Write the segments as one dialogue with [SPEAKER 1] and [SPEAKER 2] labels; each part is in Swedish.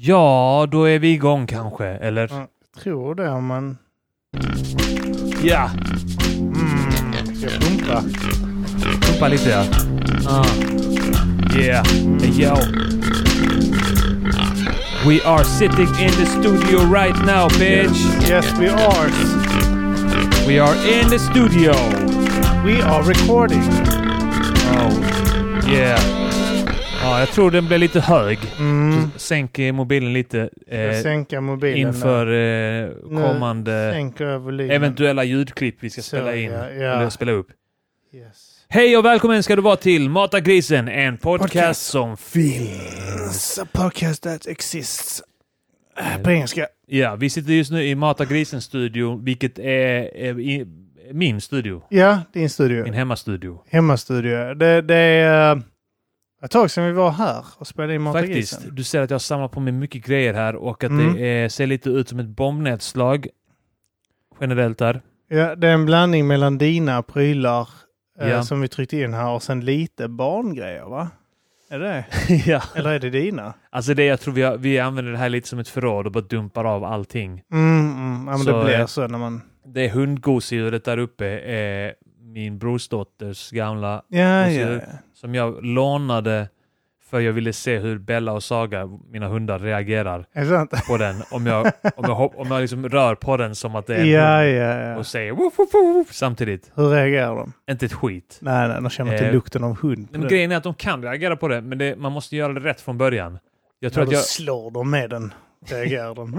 [SPEAKER 1] Ja, då är vi igång kanske, eller?
[SPEAKER 2] Ja, jag tror det, men...
[SPEAKER 1] Ja!
[SPEAKER 2] Mm, ska jag pumpa?
[SPEAKER 1] Pumpa lite ja. Ah. Yeah, yo! We are sitting in the studio right now, bitch!
[SPEAKER 2] Yes, we are.
[SPEAKER 1] We are in the studio!
[SPEAKER 2] We are recording.
[SPEAKER 1] Oh, yeah. Ja, jag tror den blev lite hög.
[SPEAKER 2] Mm.
[SPEAKER 1] Sänk eh, mobilen lite
[SPEAKER 2] Jag
[SPEAKER 1] eh,
[SPEAKER 2] sänker mobilen.
[SPEAKER 1] inför eh,
[SPEAKER 2] Nu
[SPEAKER 1] kommande...
[SPEAKER 2] nu. Sänker jag volymen.
[SPEAKER 1] eventuella ljudklipp vi ska
[SPEAKER 2] Så,
[SPEAKER 1] spela in.
[SPEAKER 2] ja, ja.
[SPEAKER 1] Eller spela upp.
[SPEAKER 2] Yes.
[SPEAKER 1] Hej och välkommen ska du vara till Mata grisen, en podcast,
[SPEAKER 2] Podcast.
[SPEAKER 1] som film.
[SPEAKER 2] It's a podcast that exists.
[SPEAKER 1] Eh.
[SPEAKER 2] Äh, På engelska.
[SPEAKER 1] Ja, vi sitter just nu i Mata grisen studio, vilket är, är i, min studio.
[SPEAKER 2] Ja, din studio.
[SPEAKER 1] Min hemmastudio.
[SPEAKER 2] Hemmastudio. Det, det är... eh, ett tag sedan vi var här och spelade in Mata
[SPEAKER 1] Faktiskt.
[SPEAKER 2] Grisen.
[SPEAKER 1] Du ser att jag samlar på mig mycket grejer här och att
[SPEAKER 2] Mm.
[SPEAKER 1] det eh, ser lite ut som ett bombnedslag. Generellt där.
[SPEAKER 2] Ja, det är en blandning mellan dina prylar eh,
[SPEAKER 1] Ja.
[SPEAKER 2] som vi tryckte in här och sen lite barngrejer, va? Är det det?
[SPEAKER 1] ja.
[SPEAKER 2] Eller är det dina?
[SPEAKER 1] Alltså det jag tror vi, har, vi använder det här lite som ett förråd och bara dumpar av allting.
[SPEAKER 2] Mm, mm. Ja, men
[SPEAKER 1] Så,
[SPEAKER 2] det blir
[SPEAKER 1] eh,
[SPEAKER 2] så när man...
[SPEAKER 1] Det hundgosedjuret där uppe är min brorsdotters gamla
[SPEAKER 2] Ja,
[SPEAKER 1] och
[SPEAKER 2] ja,
[SPEAKER 1] så-
[SPEAKER 2] ja.
[SPEAKER 1] som jag lånade för jag ville se hur Bella och Saga, mina hundar, reagerar
[SPEAKER 2] Är det sant?
[SPEAKER 1] på den. Om jag, om jag, hop- om jag liksom rör på den som att det är en
[SPEAKER 2] Ja,
[SPEAKER 1] hund
[SPEAKER 2] ja, ja.
[SPEAKER 1] och säger woof, woof, woof, samtidigt.
[SPEAKER 2] Hur reagerar de?
[SPEAKER 1] Inte ett skit.
[SPEAKER 2] Nej, nej, de känner inte
[SPEAKER 1] Eh,
[SPEAKER 2] lukten av hund. på
[SPEAKER 1] Men
[SPEAKER 2] det.
[SPEAKER 1] grejen är att de kan reagera på det, men det, man måste göra det rätt från början. Jag tror
[SPEAKER 2] Ja,
[SPEAKER 1] att
[SPEAKER 2] då
[SPEAKER 1] jag...
[SPEAKER 2] slår de med den. Reagerar de.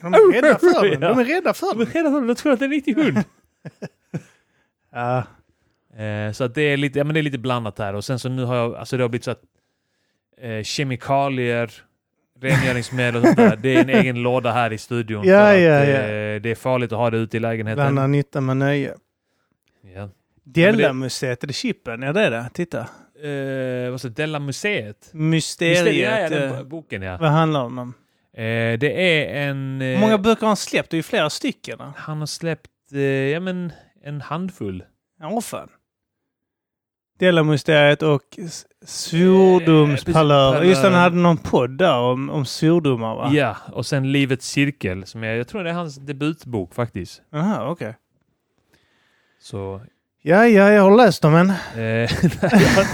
[SPEAKER 2] De är rädda för den. De är rädda för
[SPEAKER 1] Jag
[SPEAKER 2] den.
[SPEAKER 1] vet redan att jag tror att det är en riktig hund.
[SPEAKER 2] Ja,
[SPEAKER 1] Eh, så att det, är lite, ja, men det är lite blandat här. Och sen så nu har jag, alltså det har blivit så att eh, kemikalier, rengöringsmedel och sånt där, det är en egen låda här i studion.
[SPEAKER 2] Ja,
[SPEAKER 1] för att,
[SPEAKER 2] ja, ja.
[SPEAKER 1] eh, det är farligt att ha det ute i lägenheten.
[SPEAKER 2] blanda nytta med nöje.
[SPEAKER 1] Ja.
[SPEAKER 2] Della-museet, är det Chippen? Ja, det är det. Titta.
[SPEAKER 1] Eh, vad sa du? Della Museet? Mysteriet, ja,
[SPEAKER 2] Mysteriet.
[SPEAKER 1] den
[SPEAKER 2] eh,
[SPEAKER 1] bo- boken ja.
[SPEAKER 2] Vad handlar den om?
[SPEAKER 1] Eh, det är en...
[SPEAKER 2] Hur
[SPEAKER 1] Eh,
[SPEAKER 2] många böcker har han släppt? Det är ju flera stycken. va?
[SPEAKER 1] Han har släppt, eh, ja men, en handfull.
[SPEAKER 2] Ja, fan. Della-mysteriet och s- svordomspalörer. Just det, han hade någon podd där om, om svordomar, va?
[SPEAKER 1] Eh, Ja, och sen Livets cirkel, som är, jag tror det är hans debutbok faktiskt.
[SPEAKER 2] Aha, okej.
[SPEAKER 1] Så
[SPEAKER 2] Ja, ja, jag har läst dem än.
[SPEAKER 1] Eh, nej, jag,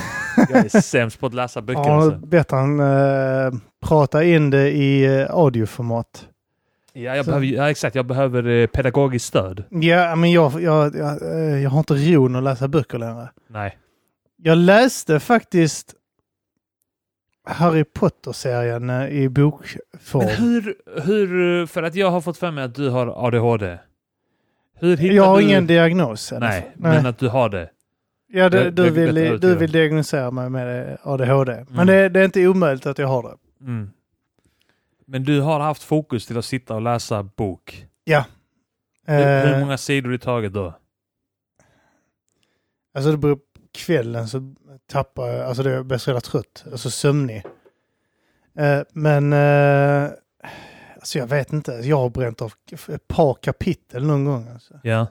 [SPEAKER 1] jag är sämst på att läsa böcker.
[SPEAKER 2] Ja,
[SPEAKER 1] Alltså.
[SPEAKER 2] bättre än eh, prata in det i eh, audioformat.
[SPEAKER 1] Ja, jag
[SPEAKER 2] så-
[SPEAKER 1] behöver, ja, exakt. Jag behöver eh, pedagogiskt stöd.
[SPEAKER 2] Ja, men jag, jag, jag, eh, jag har inte ron att läsa böcker längre.
[SPEAKER 1] Nej.
[SPEAKER 2] Jag läste faktiskt Harry Potter-serien eh, i
[SPEAKER 1] Men
[SPEAKER 2] bokform.
[SPEAKER 1] hur, hur, för att jag har fått för mig att du har ADHD. Hur hittar
[SPEAKER 2] Jag har
[SPEAKER 1] du...
[SPEAKER 2] ingen diagnos. i alla fall.
[SPEAKER 1] Nej, men att du har det.
[SPEAKER 2] ja,
[SPEAKER 1] det- det
[SPEAKER 2] du, du,
[SPEAKER 1] är bättre
[SPEAKER 2] vill,
[SPEAKER 1] ut
[SPEAKER 2] du
[SPEAKER 1] i
[SPEAKER 2] vill diagnosera mig med eh, ADHD.
[SPEAKER 1] Mm.
[SPEAKER 2] Men det, det är inte omöjligt att jag har det.
[SPEAKER 1] Mm. Men du har haft fokus till att sitta och läsa bok. Hur, hur
[SPEAKER 2] Eh,
[SPEAKER 1] många sidor i taget då?
[SPEAKER 2] Alltså det beror på kvällen så tappar jag, alltså det är bäst redan trött, alltså sömnig. Eh, men, eh, alltså jag vet inte, jag har bränt av k- ett par kapitel någon gång. Alltså.
[SPEAKER 1] Ja.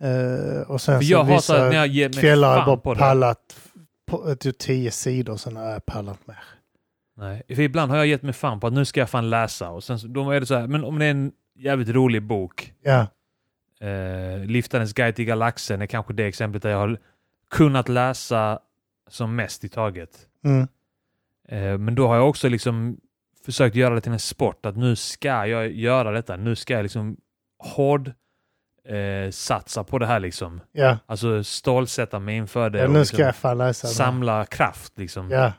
[SPEAKER 2] Eh, och sen
[SPEAKER 1] För
[SPEAKER 2] så
[SPEAKER 1] jag har så
[SPEAKER 2] vissa
[SPEAKER 1] att när jag ger mig
[SPEAKER 2] kvällar har jag
[SPEAKER 1] fan på
[SPEAKER 2] bara
[SPEAKER 1] det.
[SPEAKER 2] pallat på, typ tio sidor, sen har jag pallat mer.
[SPEAKER 1] Nej, för ibland har jag gett mig fan på att nu ska jag fan läsa. Och sen så, då är det så här, men om det är en jävligt rolig bok.
[SPEAKER 2] Ja,
[SPEAKER 1] Eh, Liftarens guide till galaxen är kanske det exemplet där jag har kunnat läsa som mest i taget.
[SPEAKER 2] mm.
[SPEAKER 1] Eh, men då har jag också liksom försökt göra det till en sport, att nu ska jag göra detta. Nu ska jag liksom hård eh, satsa på det här liksom.
[SPEAKER 2] ja.
[SPEAKER 1] Alltså stålsätta mig inför det.
[SPEAKER 2] ja
[SPEAKER 1] och
[SPEAKER 2] nu ska
[SPEAKER 1] liksom
[SPEAKER 2] jag fan läsa. den.
[SPEAKER 1] samla kraft liksom.
[SPEAKER 2] Ja,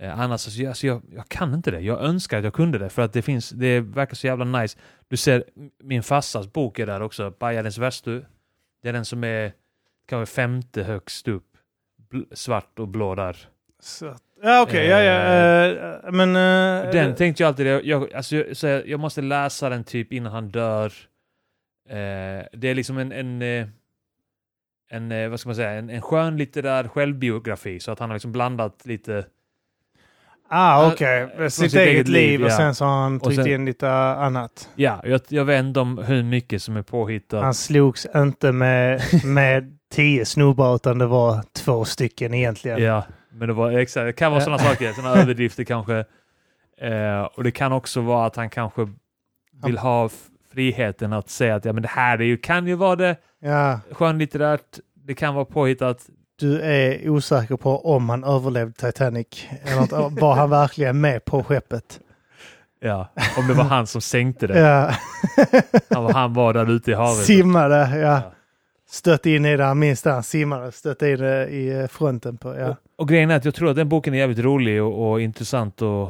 [SPEAKER 1] Eh, annars, alltså, jag- alltså, jag, jag kan inte det. Jag önskar att jag kunde det, för att det finns, det verkar så jävla nice. Du ser, m- min farsas bok är där också, Bajarens Västu. Det är den som är kanske femte högst upp. Bl- svart och blå där.
[SPEAKER 2] så. Ja, okej, ja, ja, eh, men... eh,
[SPEAKER 1] Den tänkte jag alltid, jag, jag, alltså, jag, så jag, jag måste läsa den typ innan han dör. Eh, det är liksom en, en, eh, en, eh, vad ska man säga, en, en skön litterär självbiografi, så att han har liksom blandat lite
[SPEAKER 2] Ah, okej.
[SPEAKER 1] eh, Från
[SPEAKER 2] Sitt, eget liv och
[SPEAKER 1] ja.
[SPEAKER 2] sen så har han
[SPEAKER 1] Och
[SPEAKER 2] tryckt
[SPEAKER 1] sen-
[SPEAKER 2] in lite annat.
[SPEAKER 1] Ja, jag, jag vet inte om hur mycket som är påhittat.
[SPEAKER 2] Han slogs inte med, med tio snubbar utan det var två stycken egentligen.
[SPEAKER 1] Ja, men det var exakt. Det kan vara
[SPEAKER 2] Ja.
[SPEAKER 1] sådana saker, sådana överdrifter kanske. Eh, och det kan också vara att han kanske vill ha f- friheten att säga att ja, men det här är ju, kan ju vara det
[SPEAKER 2] Ja,
[SPEAKER 1] skönlitterärt, det kan vara påhittat.
[SPEAKER 2] du är osäker på om han överlevde Titanic. Eller att, var han verkligen med på skeppet?
[SPEAKER 1] Ja, om det var han som sänkte det.
[SPEAKER 2] Ja.
[SPEAKER 1] Han var, han var där ute i havet.
[SPEAKER 2] Simmade, ja.
[SPEAKER 1] Ja.
[SPEAKER 2] Stötte in i det han minns där han simmade. Stötte in det i eh, fronten på, ja.
[SPEAKER 1] Och, och grejen är att jag tror att den boken är jävligt rolig och, och intressant och,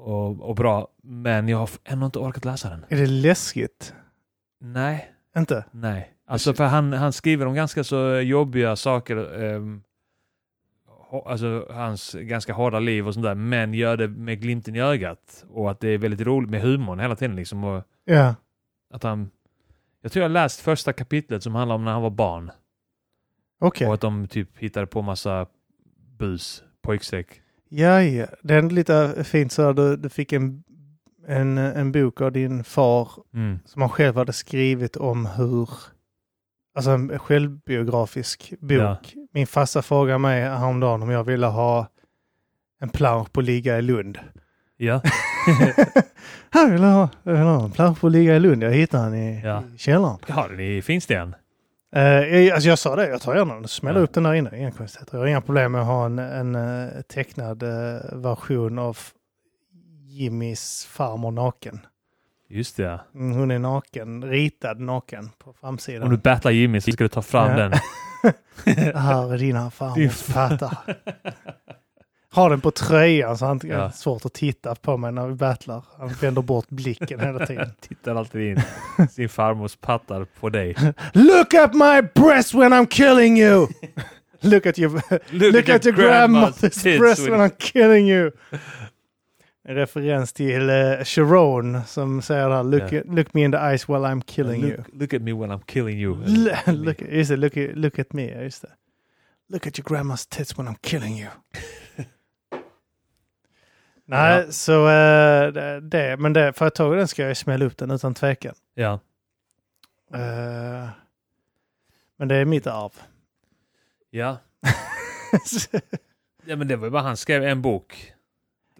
[SPEAKER 1] och, och bra, men jag har f- ännu inte orkat läsa den.
[SPEAKER 2] Är det läskigt?
[SPEAKER 1] Nej,
[SPEAKER 2] Inte?
[SPEAKER 1] nej. Alltså för han, han skriver om ganska så jobbiga saker, ehm, ho- alltså hans ganska hårda liv och sånt där, men gör det med glimten i ögat och att det är väldigt roligt med humorn hela tiden liksom. Och
[SPEAKER 2] Ja.
[SPEAKER 1] att han, jag tror jag läst första kapitlet som handlar om när han var barn
[SPEAKER 2] Okej.
[SPEAKER 1] och att de typ hittade på massa bus, pojkstreck.
[SPEAKER 2] Ja, ja. Det är lite fint så här, du, du fick en, en, en bok av din far
[SPEAKER 1] Mm.
[SPEAKER 2] som han själv hade skrivit om hur, alltså en självbiografisk bok.
[SPEAKER 1] Ja.
[SPEAKER 2] Min farsa frågade mig häromdagen om jag ville ha en plansch på Ligga i Lund.
[SPEAKER 1] Ja.
[SPEAKER 2] Han ville ha, jag vill ha en plansch på Ligga i Lund. Jag hittade han i,
[SPEAKER 1] Ja.
[SPEAKER 2] i källaren.
[SPEAKER 1] Jag har den i Finsten.
[SPEAKER 2] Eh, jag, alltså jag sa det, jag tar gärna den och smäller
[SPEAKER 1] Ja.
[SPEAKER 2] upp den där inne. Inga konstigheter. Jag har inga problem med att ha en, en eh, tecknad eh, version av Jimmys farmor naken.
[SPEAKER 1] Just det.
[SPEAKER 2] Mm, Hon är naken, ritad naken på framsidan.
[SPEAKER 1] Om du battlar Jimmy så ska du ta fram
[SPEAKER 2] Ja.
[SPEAKER 1] den.
[SPEAKER 2] Här är dina
[SPEAKER 1] Fy
[SPEAKER 2] farmors
[SPEAKER 1] fan.
[SPEAKER 2] pattar. Har den på tröjan så han inte
[SPEAKER 1] Ja.
[SPEAKER 2] svårt att titta på mig när vi battlar. Han vänder bort blicken hela tiden.
[SPEAKER 1] Tittar alltid in sin farmors pattar på dig.
[SPEAKER 2] Look at my breast when I'm killing you! Look at your,
[SPEAKER 1] Look,
[SPEAKER 2] Look at your grandma's
[SPEAKER 1] tits
[SPEAKER 2] breast
[SPEAKER 1] with-
[SPEAKER 2] when I'm killing you. En referens till eh, Sharon som säger där, look,
[SPEAKER 1] Ja.
[SPEAKER 2] look me in the eyes while I'm killing
[SPEAKER 1] look,
[SPEAKER 2] you.
[SPEAKER 1] Look at me when I'm killing you.
[SPEAKER 2] L- look, just det, look, look at me, ja, just det. Look at your grandma's tits when I'm killing you. Nej,
[SPEAKER 1] Ja.
[SPEAKER 2] så eh, det, det, men det, för att ta den ska jag ju smälla upp den utan tvekan.
[SPEAKER 1] Ja.
[SPEAKER 2] Eh, men det är mitt arv.
[SPEAKER 1] Ja. ja, men det var ju bara han skrev en bok.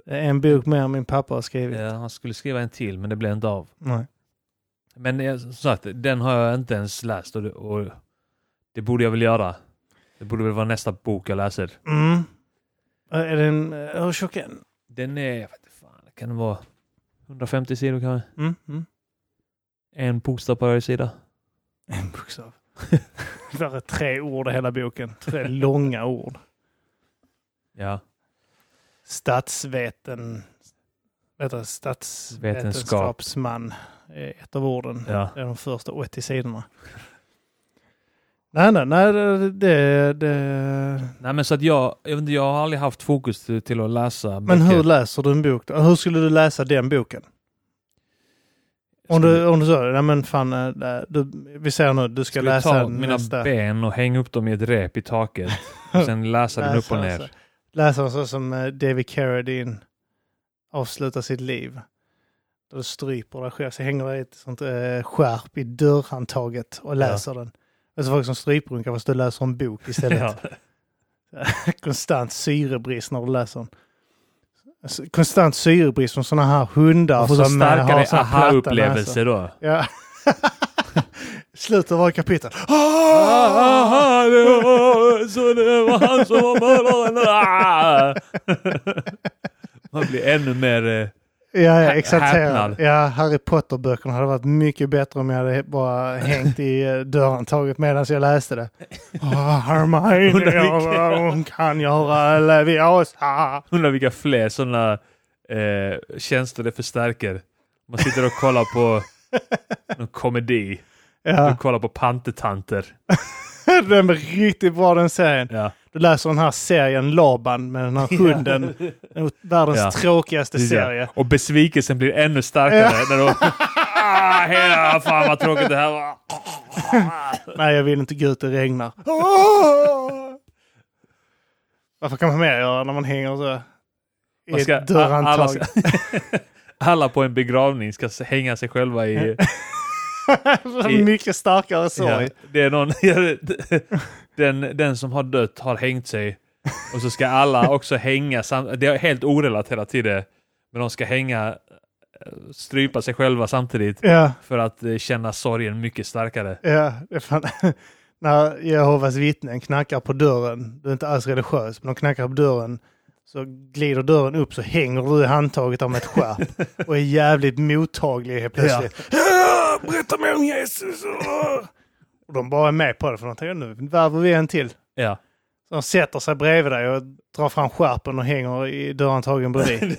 [SPEAKER 2] Det är en bok mer min pappa har skrivit.
[SPEAKER 1] Ja, han skulle skriva en till, men det blev inte av.
[SPEAKER 2] Nej.
[SPEAKER 1] Men eh, som sagt, den har jag inte ens läst och det, och det borde jag väl göra. Det borde väl vara nästa bok jag läser.
[SPEAKER 2] Mm. Eh, Är den, eh, hur tjock är den?
[SPEAKER 1] Den är, jag vet inte fan, kan det vara 150 sidor kanske?
[SPEAKER 2] Mm. Mm.
[SPEAKER 1] En bokstav på varje sida.
[SPEAKER 2] En bokstav. det är tre ord i hela boken. Tre långa ord.
[SPEAKER 1] Ja,
[SPEAKER 2] Statsveten... Vet du, statsvetenskapsman är ett av orden.
[SPEAKER 1] ja.
[SPEAKER 2] Det är de första 80 sidorna. Nej, nej, nej, det... det, det.
[SPEAKER 1] Nej men så att jag, jag, vet inte, jag har aldrig haft fokus till, till att läsa
[SPEAKER 2] Men hur läser du en bok? då? Hur skulle du läsa den boken? Om du, om du sa det, nej men fan, eh, nej, du, vi säger nu, du ska,
[SPEAKER 1] ska
[SPEAKER 2] läsa
[SPEAKER 1] ta mina
[SPEAKER 2] nästa...
[SPEAKER 1] ben och hänga upp dem i ett rep i taket och sen läsa den upp och
[SPEAKER 2] Läsa,
[SPEAKER 1] ner.
[SPEAKER 2] läsa. läser så som eh, David Carradine avslutar sitt liv. Då du stryper dig själv, så hänger det ett sånt eh, skärp i dörrhandtaget och läser den. Och så folk som stryprunkar fast du läser en bok istället.
[SPEAKER 1] Ja.
[SPEAKER 2] Konstant syrebrist när du läser den. Alltså, Konstant syrebrist från sådana här hundar
[SPEAKER 1] Och få så
[SPEAKER 2] som eh, har
[SPEAKER 1] starkare
[SPEAKER 2] såna här platta näsor.
[SPEAKER 1] aha-upplevelse då.
[SPEAKER 2] Ja. Slutet av varje kapitel.
[SPEAKER 1] Ah, ah, ah, det var- så det var han som var mördaren. Ah! Man blir ännu mer... eh,
[SPEAKER 2] Ja, ja
[SPEAKER 1] Hä-
[SPEAKER 2] exalterad.
[SPEAKER 1] häpnad.
[SPEAKER 2] Ja, Harry Potter-böckerna hade varit mycket bättre om jag hade bara hängt i eh, dörrhandtaget medan jag läste det. Oh, Hermione,
[SPEAKER 1] Undrar
[SPEAKER 2] ja, hon kan göra Leviosa.
[SPEAKER 1] Undrar vilka fler sådana eh, tjänster det förstärker. Man sitter och kollar på någon komedi.
[SPEAKER 2] Ja,
[SPEAKER 1] Och kollar på pantetanter.
[SPEAKER 2] den är riktigt bra den serien.
[SPEAKER 1] Ja.
[SPEAKER 2] Du läser den här serien Laban med den här hunden. Den Världens
[SPEAKER 1] Ja.
[SPEAKER 2] tråkigaste
[SPEAKER 1] Precis, ja.
[SPEAKER 2] serie.
[SPEAKER 1] Och besvikelsen blir ännu starkare. när de, ah, hela, fan vad tråkigt det här
[SPEAKER 2] Ah!
[SPEAKER 1] var.
[SPEAKER 2] Nej, jag vill inte gå ut, det regnar. Varför kan man mer göra när man hänger så? I
[SPEAKER 1] Man ska-
[SPEAKER 2] ett dörrhandtag.
[SPEAKER 1] alla ska- Alla på en begravning ska s- hänga sig själva i... i-
[SPEAKER 2] Mycket starkare sorg.
[SPEAKER 1] Ja, det är någon, ja, det- den, den som har dött har hängt sig. Och så ska alla också hänga. sam- Det är helt orelaterat till det. Men de ska hänga, eh, strypa sig själva samtidigt
[SPEAKER 2] Ja,
[SPEAKER 1] för att eh, känna sorgen mycket starkare.
[SPEAKER 2] ja, det är fan. När Jehovas vittnen knackar på dörren, du är inte alls religiös, men de knackar på dörren, så glider dörren upp så hänger du i handtaget om ett skärp och är jävligt mottaglig helt plötsligt. Ja. Berätta mer om Jesus! Ah! Och de bara är med på det, för de tänker nu värver vi en till.
[SPEAKER 1] Ja.
[SPEAKER 2] Så de sätter sig bredvid dig och drar fram skärpen och hänger i dörrhandtagen bredvid.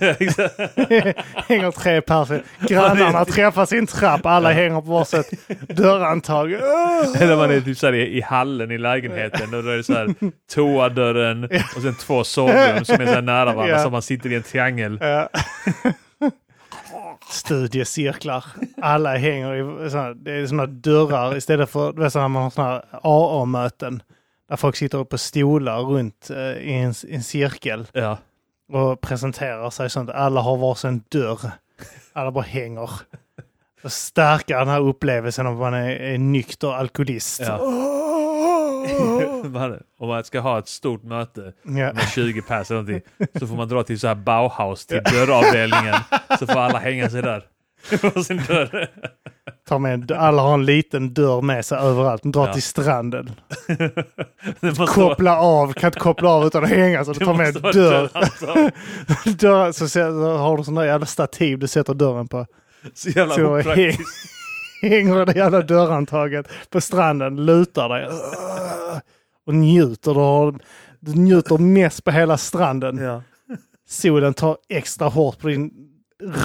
[SPEAKER 2] hänger tre personer. Grannarna träffas i en trapp, alla hänger på varsitt dörrhandtag.
[SPEAKER 1] Eller man är typ så här i, i hallen i lägenheten och då är det så här toadörren och sen två sovrum som är så här nära varandra
[SPEAKER 2] Ja.
[SPEAKER 1] så man sitter i en triangel.
[SPEAKER 2] Ja. Studiecirklar. Alla hänger i såna, det är såna dörrar istället för det är såna, man har såna AA-möten. Där folk sitter upp på stolar runt eh, i en, i en cirkel
[SPEAKER 1] Ja.
[SPEAKER 2] och presenterar sig sånt. Alla har varsin dörr. Alla bara hänger. Och stärka den här upplevelsen av att man är, är nykter alkoholist.
[SPEAKER 1] Ja.
[SPEAKER 2] Oh.
[SPEAKER 1] Man- Om man ska ha ett stort möte
[SPEAKER 2] Ja.
[SPEAKER 1] med 20 pers eller någonting så får man dra till så här Bauhaus till dörravdelningen så får alla hänga sig där. På sin dörr.
[SPEAKER 2] Ta med, alla har en liten dörr med sig överallt. Dra
[SPEAKER 1] Ja.
[SPEAKER 2] till stranden.
[SPEAKER 1] Det måste vara-
[SPEAKER 2] koppla av, kan inte koppla av utan att hänga så du
[SPEAKER 1] det
[SPEAKER 2] tar med
[SPEAKER 1] måste vara alltså. ett
[SPEAKER 2] dörr.
[SPEAKER 1] dörrhandtag.
[SPEAKER 2] dörr så, ser- så har du sån där jävla stativ du sätter dörren på.
[SPEAKER 1] Så jävla
[SPEAKER 2] Så
[SPEAKER 1] opraktiskt.
[SPEAKER 2] hänger det jävla dörrhandtaget på stranden, lutar dig. Och njuter. Du, har, du njuter mest på hela stranden.
[SPEAKER 1] Ja.
[SPEAKER 2] Solen tar extra hårt på din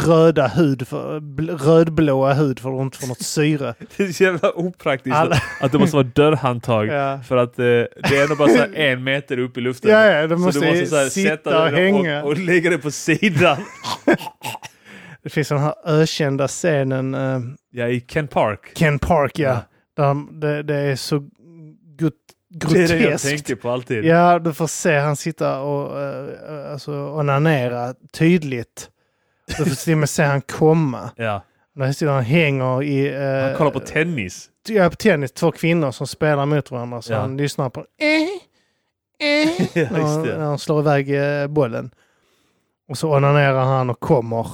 [SPEAKER 2] röda hud, för, bl- rödblåa hud för att du inte får något syre.
[SPEAKER 1] Det är så jävla opraktiskt
[SPEAKER 2] Alla-
[SPEAKER 1] att det måste vara dörrhandtag.
[SPEAKER 2] Ja.
[SPEAKER 1] För att eh, det är ändå bara så här en meter upp i luften.
[SPEAKER 2] Ja, ja, de måste
[SPEAKER 1] så du måste så här
[SPEAKER 2] sitta
[SPEAKER 1] sätta
[SPEAKER 2] och
[SPEAKER 1] dig
[SPEAKER 2] hänga.
[SPEAKER 1] Och, och lägga det på sidan.
[SPEAKER 2] Det finns den här ökända scenen eh,
[SPEAKER 1] Ja, i Ken Park.
[SPEAKER 2] Ken Park, ja.
[SPEAKER 1] Ja.
[SPEAKER 2] Där han- det, det är så gut,
[SPEAKER 1] Det är det jag
[SPEAKER 2] groteskt.
[SPEAKER 1] tänker på alltid.
[SPEAKER 2] Ja, du får se han sitta och uh, alltså, onanera tydligt. Du får till och med se han komma.
[SPEAKER 1] Ja.
[SPEAKER 2] Där sitter han hänger i... eh,
[SPEAKER 1] Han kollar på tennis.
[SPEAKER 2] ja, på tennis. Två kvinnor som spelar mot varandra. Så
[SPEAKER 1] Ja.
[SPEAKER 2] han lyssnar på... Eh, eh,
[SPEAKER 1] Ja, just
[SPEAKER 2] när, han, när
[SPEAKER 1] det.
[SPEAKER 2] han slår iväg eh, bollen. Och så onanerar han och kommer.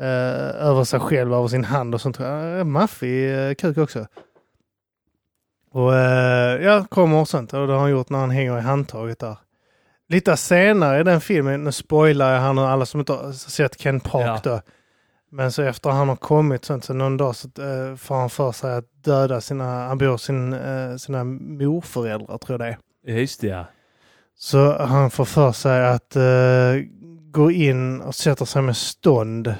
[SPEAKER 2] eh, över sig själv, över sin hand och sånt. Uh, maffig uh, kuk också. Och eh, ja, kommer och sånt. Och det har han gjort när han hänger i handtaget där. Lite senare i den filmen, nu spoilar jag här nu alla som inte har sett Ken Park då. Men så efter han har kommit sånt, så någon dag så eh, får han för sig att döda sina, han bor sin, eh, sina morföräldrar tror jag det är.
[SPEAKER 1] Ja, just det, ja.
[SPEAKER 2] Så han får för sig att eh, gå in och sätta sig med stånd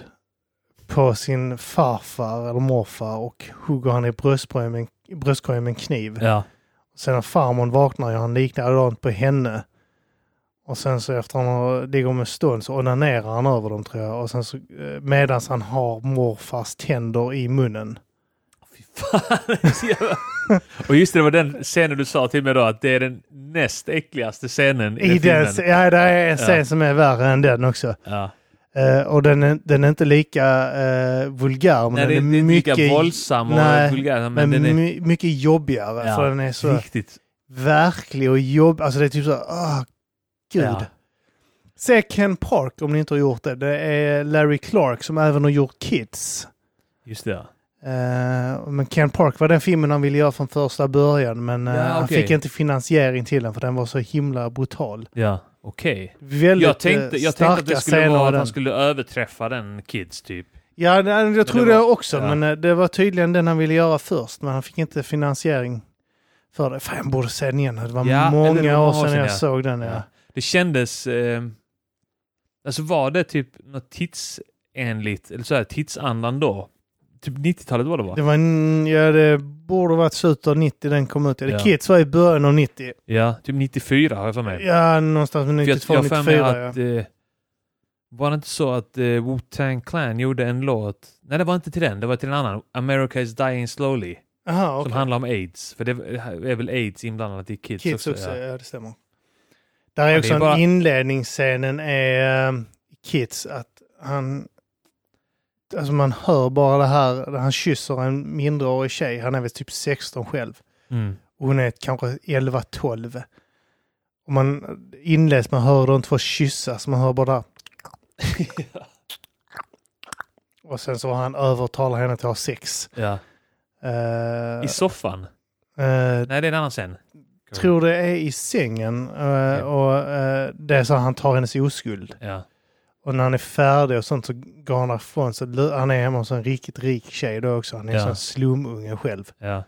[SPEAKER 2] på sin farfar eller morfar och hugger han i bröstkorgen med, en- i bröstkorgen med en kniv.
[SPEAKER 1] Ja.
[SPEAKER 2] Sen när farmor vaknar gör han likadant på henne. Och sen så efter han har- ligger med stånd så onanerar han över dem tror jag. Och sen så eh, medans han har morfars tänder i munnen.
[SPEAKER 1] Fy fan. det är så jävla- och just det, det var den scenen du sa till mig då att det är den näst äckligaste scenen i,
[SPEAKER 2] I den,
[SPEAKER 1] filmen.
[SPEAKER 2] ja, det är en scen
[SPEAKER 1] Ja.
[SPEAKER 2] som är värre än den också.
[SPEAKER 1] ja.
[SPEAKER 2] Eh, och den är, den är inte lika eh, vulgär, men
[SPEAKER 1] Nej, det,
[SPEAKER 2] den
[SPEAKER 1] det
[SPEAKER 2] är
[SPEAKER 1] är inte
[SPEAKER 2] mycket,
[SPEAKER 1] lika våldsam och
[SPEAKER 2] Nej,
[SPEAKER 1] vulgär, men,
[SPEAKER 2] men
[SPEAKER 1] den är
[SPEAKER 2] my, mycket jobbigare.
[SPEAKER 1] Ja,
[SPEAKER 2] För den är så
[SPEAKER 1] riktigt.
[SPEAKER 2] verklig och jobbig. Alltså det är typ så, ah, gud.
[SPEAKER 1] Ja.
[SPEAKER 2] Se Ken Park om ni inte har gjort det. Det är Larry Clark som även har gjort Kids.
[SPEAKER 1] Just det, ja.
[SPEAKER 2] Eh, men Ken Park var den filmen han ville göra från första början, men eh,
[SPEAKER 1] Ja,
[SPEAKER 2] han
[SPEAKER 1] okej.
[SPEAKER 2] fick inte finansiering till den för den var så himla brutal.
[SPEAKER 1] Ja, okej.
[SPEAKER 2] Väldigt
[SPEAKER 1] Jag tänkte,
[SPEAKER 2] eh,
[SPEAKER 1] jag
[SPEAKER 2] starka
[SPEAKER 1] tänkte att det skulle
[SPEAKER 2] scener i
[SPEAKER 1] vara att
[SPEAKER 2] den.
[SPEAKER 1] han skulle överträffa den Kids typ.
[SPEAKER 2] Ja, det- jag, jag trodde
[SPEAKER 1] var-
[SPEAKER 2] jag också,
[SPEAKER 1] ja.
[SPEAKER 2] men eh, det var tydligen den han ville göra först, men han fick inte finansiering för det. Fan, jag borde se den igen. Det var
[SPEAKER 1] Ja, eller det
[SPEAKER 2] många
[SPEAKER 1] var
[SPEAKER 2] år
[SPEAKER 1] många år
[SPEAKER 2] sedan
[SPEAKER 1] sedan,
[SPEAKER 2] jag
[SPEAKER 1] ja.
[SPEAKER 2] såg den. Ja.
[SPEAKER 1] Det kändes... Eh, alltså var det typ något tidsenligt, eller så här tidsandan då? Typ 90-talet var det va?
[SPEAKER 2] Det, var en, ja, det borde varit slutet av 90 den kom ut. Ja.
[SPEAKER 1] Ja.
[SPEAKER 2] Kids var i början av 90.
[SPEAKER 1] Ja, typ 94 har jag för mig.
[SPEAKER 2] Ja, någonstans med
[SPEAKER 1] För
[SPEAKER 2] 92,
[SPEAKER 1] jag, jag har för
[SPEAKER 2] 94.
[SPEAKER 1] mig
[SPEAKER 2] ja.
[SPEAKER 1] att... Eh, var det inte så att eh, Wu-Tang Clan gjorde en låt? Nej, det var inte till den. Det var till en annan. America is dying slowly.
[SPEAKER 2] Aha, okej.
[SPEAKER 1] Som handlar om aids. För det är väl aids inblandat i Kids,
[SPEAKER 2] Kids också,
[SPEAKER 1] ja.
[SPEAKER 2] ja. det stämmer. Där är
[SPEAKER 1] det
[SPEAKER 2] också
[SPEAKER 1] är
[SPEAKER 2] en
[SPEAKER 1] bara-
[SPEAKER 2] inledningsscenen är eh, Kids, att han... Alltså man hör bara det här, där han kysser en mindreårig tjej, han är väl typ 16 själv.
[SPEAKER 1] Mm.
[SPEAKER 2] Och Hon är kanske 11-12. Och man inleds, man hör de två kyssas, man hör bara Och sen så han övertalar henne till att ha sex.
[SPEAKER 1] ja.
[SPEAKER 2] Eh,
[SPEAKER 1] I soffan? Nej,
[SPEAKER 2] eh,
[SPEAKER 1] det är en annan scen.
[SPEAKER 2] tror det är i sängen. eh, Och eh, det är så han tar hennes oskuld.
[SPEAKER 1] Ja.
[SPEAKER 2] Och när han är färdig och sånt så går han ifrån. Så lu- han är hemma hos en riktigt rik tjej då också. Han är
[SPEAKER 1] Ja.
[SPEAKER 2] en sån slumunge själv.
[SPEAKER 1] Ja.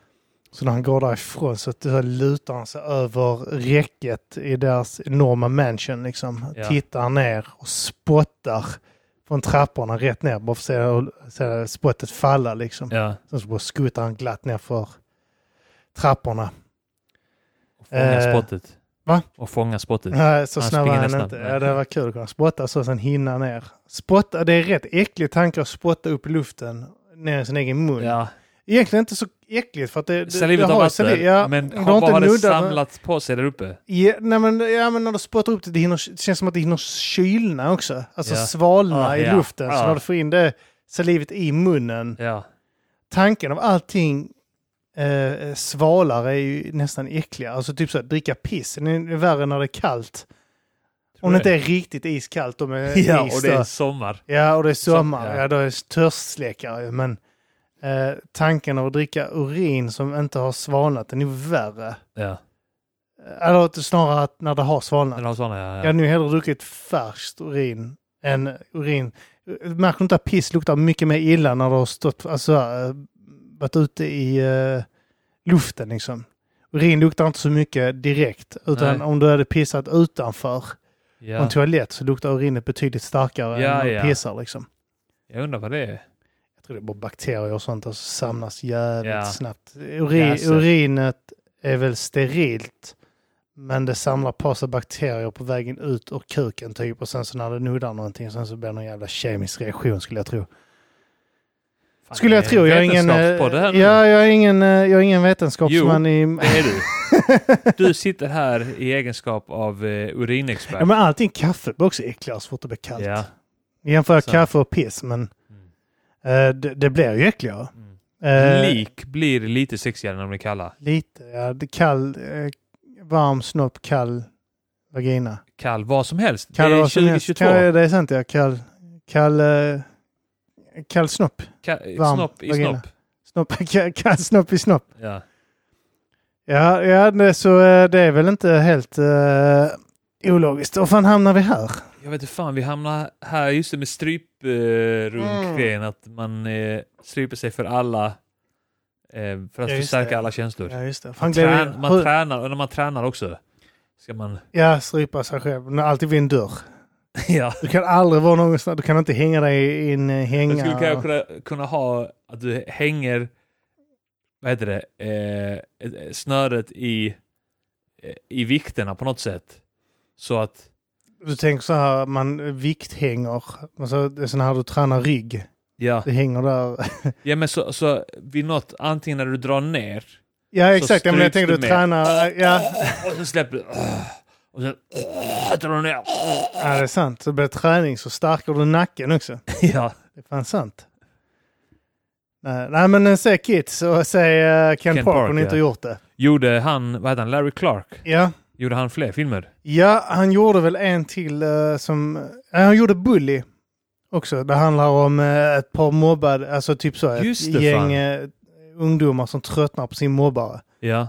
[SPEAKER 2] Så när han går därifrån så, så lutar han sig över räcket i deras enorma mansion. Liksom.
[SPEAKER 1] Ja.
[SPEAKER 2] Tittar ner och spottar från trapporna rätt ner. Bara för att se, se spottet falla liksom.
[SPEAKER 1] Ja.
[SPEAKER 2] Sen så bara skuttar han glatt ner för trapporna.
[SPEAKER 1] Och fånga
[SPEAKER 2] Eh,
[SPEAKER 1] spottet.
[SPEAKER 2] va?
[SPEAKER 1] Och fånga spottet.
[SPEAKER 2] Nej, så
[SPEAKER 1] typ. Han
[SPEAKER 2] snabb var
[SPEAKER 1] springer
[SPEAKER 2] han
[SPEAKER 1] nästan.
[SPEAKER 2] inte. Ja, det var kul att kunna spotta så sen hinna ner. Spotta, det är rätt äcklig tanke att spotta upp i luften ner i sin egen mun.
[SPEAKER 1] Ja.
[SPEAKER 2] Egentligen inte så äckligt för att det, det, det
[SPEAKER 1] Salivet har varit
[SPEAKER 2] saliv-
[SPEAKER 1] där,
[SPEAKER 2] ja,
[SPEAKER 1] men
[SPEAKER 2] du
[SPEAKER 1] har bara har det
[SPEAKER 2] nuddat-
[SPEAKER 1] samlat på sig där uppe.
[SPEAKER 2] Ja, nej men, ja, men när du spottar upp det, det, hinner, det känns som att det hinner kylna också. Alltså
[SPEAKER 1] Ja.
[SPEAKER 2] svalna
[SPEAKER 1] Ah,
[SPEAKER 2] i
[SPEAKER 1] ja.
[SPEAKER 2] luften. Så
[SPEAKER 1] Ah.
[SPEAKER 2] när du får in det salivet i munnen.
[SPEAKER 1] Ja.
[SPEAKER 2] Tanken av allting eh, svalare är ju nästan äckligare. Alltså typ så att dricka piss. Det är värre när det är kallt. Om det inte är riktigt iskallt. Om det är
[SPEAKER 1] Typ Ja,
[SPEAKER 2] is
[SPEAKER 1] och det
[SPEAKER 2] då.
[SPEAKER 1] är sommar.
[SPEAKER 2] Ja, och det är sommar.
[SPEAKER 1] Som-
[SPEAKER 2] ja.
[SPEAKER 1] ja.
[SPEAKER 2] då är det törstsläckare. ju, Men eh, tanken av att dricka urin som inte har svalnat, den är ju värre. Eh,
[SPEAKER 1] Ja.
[SPEAKER 2] Eller snarare att när det har svalnat.
[SPEAKER 1] Eller har sådana, ja. ja.
[SPEAKER 2] Jag hade nu hellre druckit färskt urin än urin. Märker du inte att piss luktar mycket mer illa när du har stått, alltså, eh, varit ute i eh, luften liksom? Urin luktar inte så mycket direkt, utan
[SPEAKER 1] Nej.
[SPEAKER 2] om du hade pissat utanför på
[SPEAKER 1] ja.
[SPEAKER 2] en toalett så luktar urinet betydligt starkare
[SPEAKER 1] Ja,
[SPEAKER 2] än när
[SPEAKER 1] ja.
[SPEAKER 2] du pissar liksom.
[SPEAKER 1] Jag undrar vad det är.
[SPEAKER 2] Jag tror det är bara bakterier och sånt som alltså, samlas jävligt
[SPEAKER 1] Ja.
[SPEAKER 2] snabbt. Uri,
[SPEAKER 1] Jäser.
[SPEAKER 2] urinet är väl sterilt, men det samlar på sig bakterier på vägen ut ur kuken typ. Och sen så när det nuddar någonting, sen så blir det någon jävla kemisk reaktion skulle jag tro.
[SPEAKER 1] Fan,
[SPEAKER 2] Skulle jag
[SPEAKER 1] det
[SPEAKER 2] tro.
[SPEAKER 1] en
[SPEAKER 2] Jag är ingen, eh,
[SPEAKER 1] vetenskapspodd här nu.
[SPEAKER 2] ja, jag är ingen, eh, jag är ingen vetenskapsman i...
[SPEAKER 1] Det är du. Du sitter här i egenskap av eh, urinexpert.
[SPEAKER 2] Ja, men allting kaffe blir också äckligare så fort det blir kallt.
[SPEAKER 1] Ja.
[SPEAKER 2] Jämför jag
[SPEAKER 1] Så.
[SPEAKER 2] kaffe och piss, men
[SPEAKER 1] Mm.
[SPEAKER 2] eh, det, det blir ju äckligare.
[SPEAKER 1] Mm.
[SPEAKER 2] Eh,
[SPEAKER 1] Lik blir lite sexigare när de är kalla.
[SPEAKER 2] Lite, ja. Det kall, eh, varm snopp, kall vagina.
[SPEAKER 1] Kall vad som helst.
[SPEAKER 2] Kall
[SPEAKER 1] det är
[SPEAKER 2] vad som helst.
[SPEAKER 1] 2022.
[SPEAKER 2] Kall, det är sant ja. Kall, kall, eh, kall snopp.
[SPEAKER 1] Ka-
[SPEAKER 2] varm
[SPEAKER 1] snopp i
[SPEAKER 2] vagina.
[SPEAKER 1] snopp.
[SPEAKER 2] snopp kall, kall snopp i snopp.
[SPEAKER 1] Ja.
[SPEAKER 2] Ja, ja det, så eh, det är väl inte helt eh, ologiskt. Och fan hamnar vi här?
[SPEAKER 1] Jag vet inte fan, vi hamnar här just det med stryprunkgrejen.
[SPEAKER 2] Mm.
[SPEAKER 1] Att man eh, stryper sig för alla. Eh, för att
[SPEAKER 2] Ja, just
[SPEAKER 1] förstärka
[SPEAKER 2] det.
[SPEAKER 1] alla känslor.
[SPEAKER 2] Ja, just det. Fan,
[SPEAKER 1] Man,
[SPEAKER 2] gled vi-
[SPEAKER 1] trän, man
[SPEAKER 2] hur-
[SPEAKER 1] tränar, och när man tränar också. Ska man...
[SPEAKER 2] Ja, strypa sig själv. Men Alltid vid en dörr.
[SPEAKER 1] ja.
[SPEAKER 2] Du kan aldrig vara någonstans. Du kan inte hänga dig i en eh, hänga.
[SPEAKER 1] Jag skulle kanske kunna, kunna ha att du hänger, vad heter det, eh, eh, snöret i, eh, i vikterna på något sätt. Så att,
[SPEAKER 2] Du tänker så här, man eh, vikthänger. Alltså, det är sån här du tränar rygg.
[SPEAKER 1] ja,
[SPEAKER 2] Det hänger där.
[SPEAKER 1] ja men så, så vid något, antingen när du drar ner,
[SPEAKER 2] Ja
[SPEAKER 1] Så
[SPEAKER 2] exakt, ja, men jag
[SPEAKER 1] stryks
[SPEAKER 2] tänker
[SPEAKER 1] du
[SPEAKER 2] du
[SPEAKER 1] med.
[SPEAKER 2] tränar... Ja,
[SPEAKER 1] och sen släpper du, och sen drar du ner.
[SPEAKER 2] ja, det är sant. Så blir det träning så stärker du nacken också.
[SPEAKER 1] Ja,
[SPEAKER 2] Det är fan sant. Nej, nej men eh, säg Kids och säg eh, Ken,
[SPEAKER 1] Ken
[SPEAKER 2] Park
[SPEAKER 1] Park,
[SPEAKER 2] om ni inte
[SPEAKER 1] ja.
[SPEAKER 2] har gjort det.
[SPEAKER 1] gjorde han, vad heter han, Larry Clark?
[SPEAKER 2] Ja.
[SPEAKER 1] Gjorde han fler filmer?
[SPEAKER 2] ja, han gjorde väl en till eh, som... eh, han gjorde Bully också. Det handlar om eh, ett par mobbade, alltså typ så ett
[SPEAKER 1] Just det, fan.
[SPEAKER 2] gäng eh, ungdomar som tröttnar på sin mobbare.
[SPEAKER 1] Ja.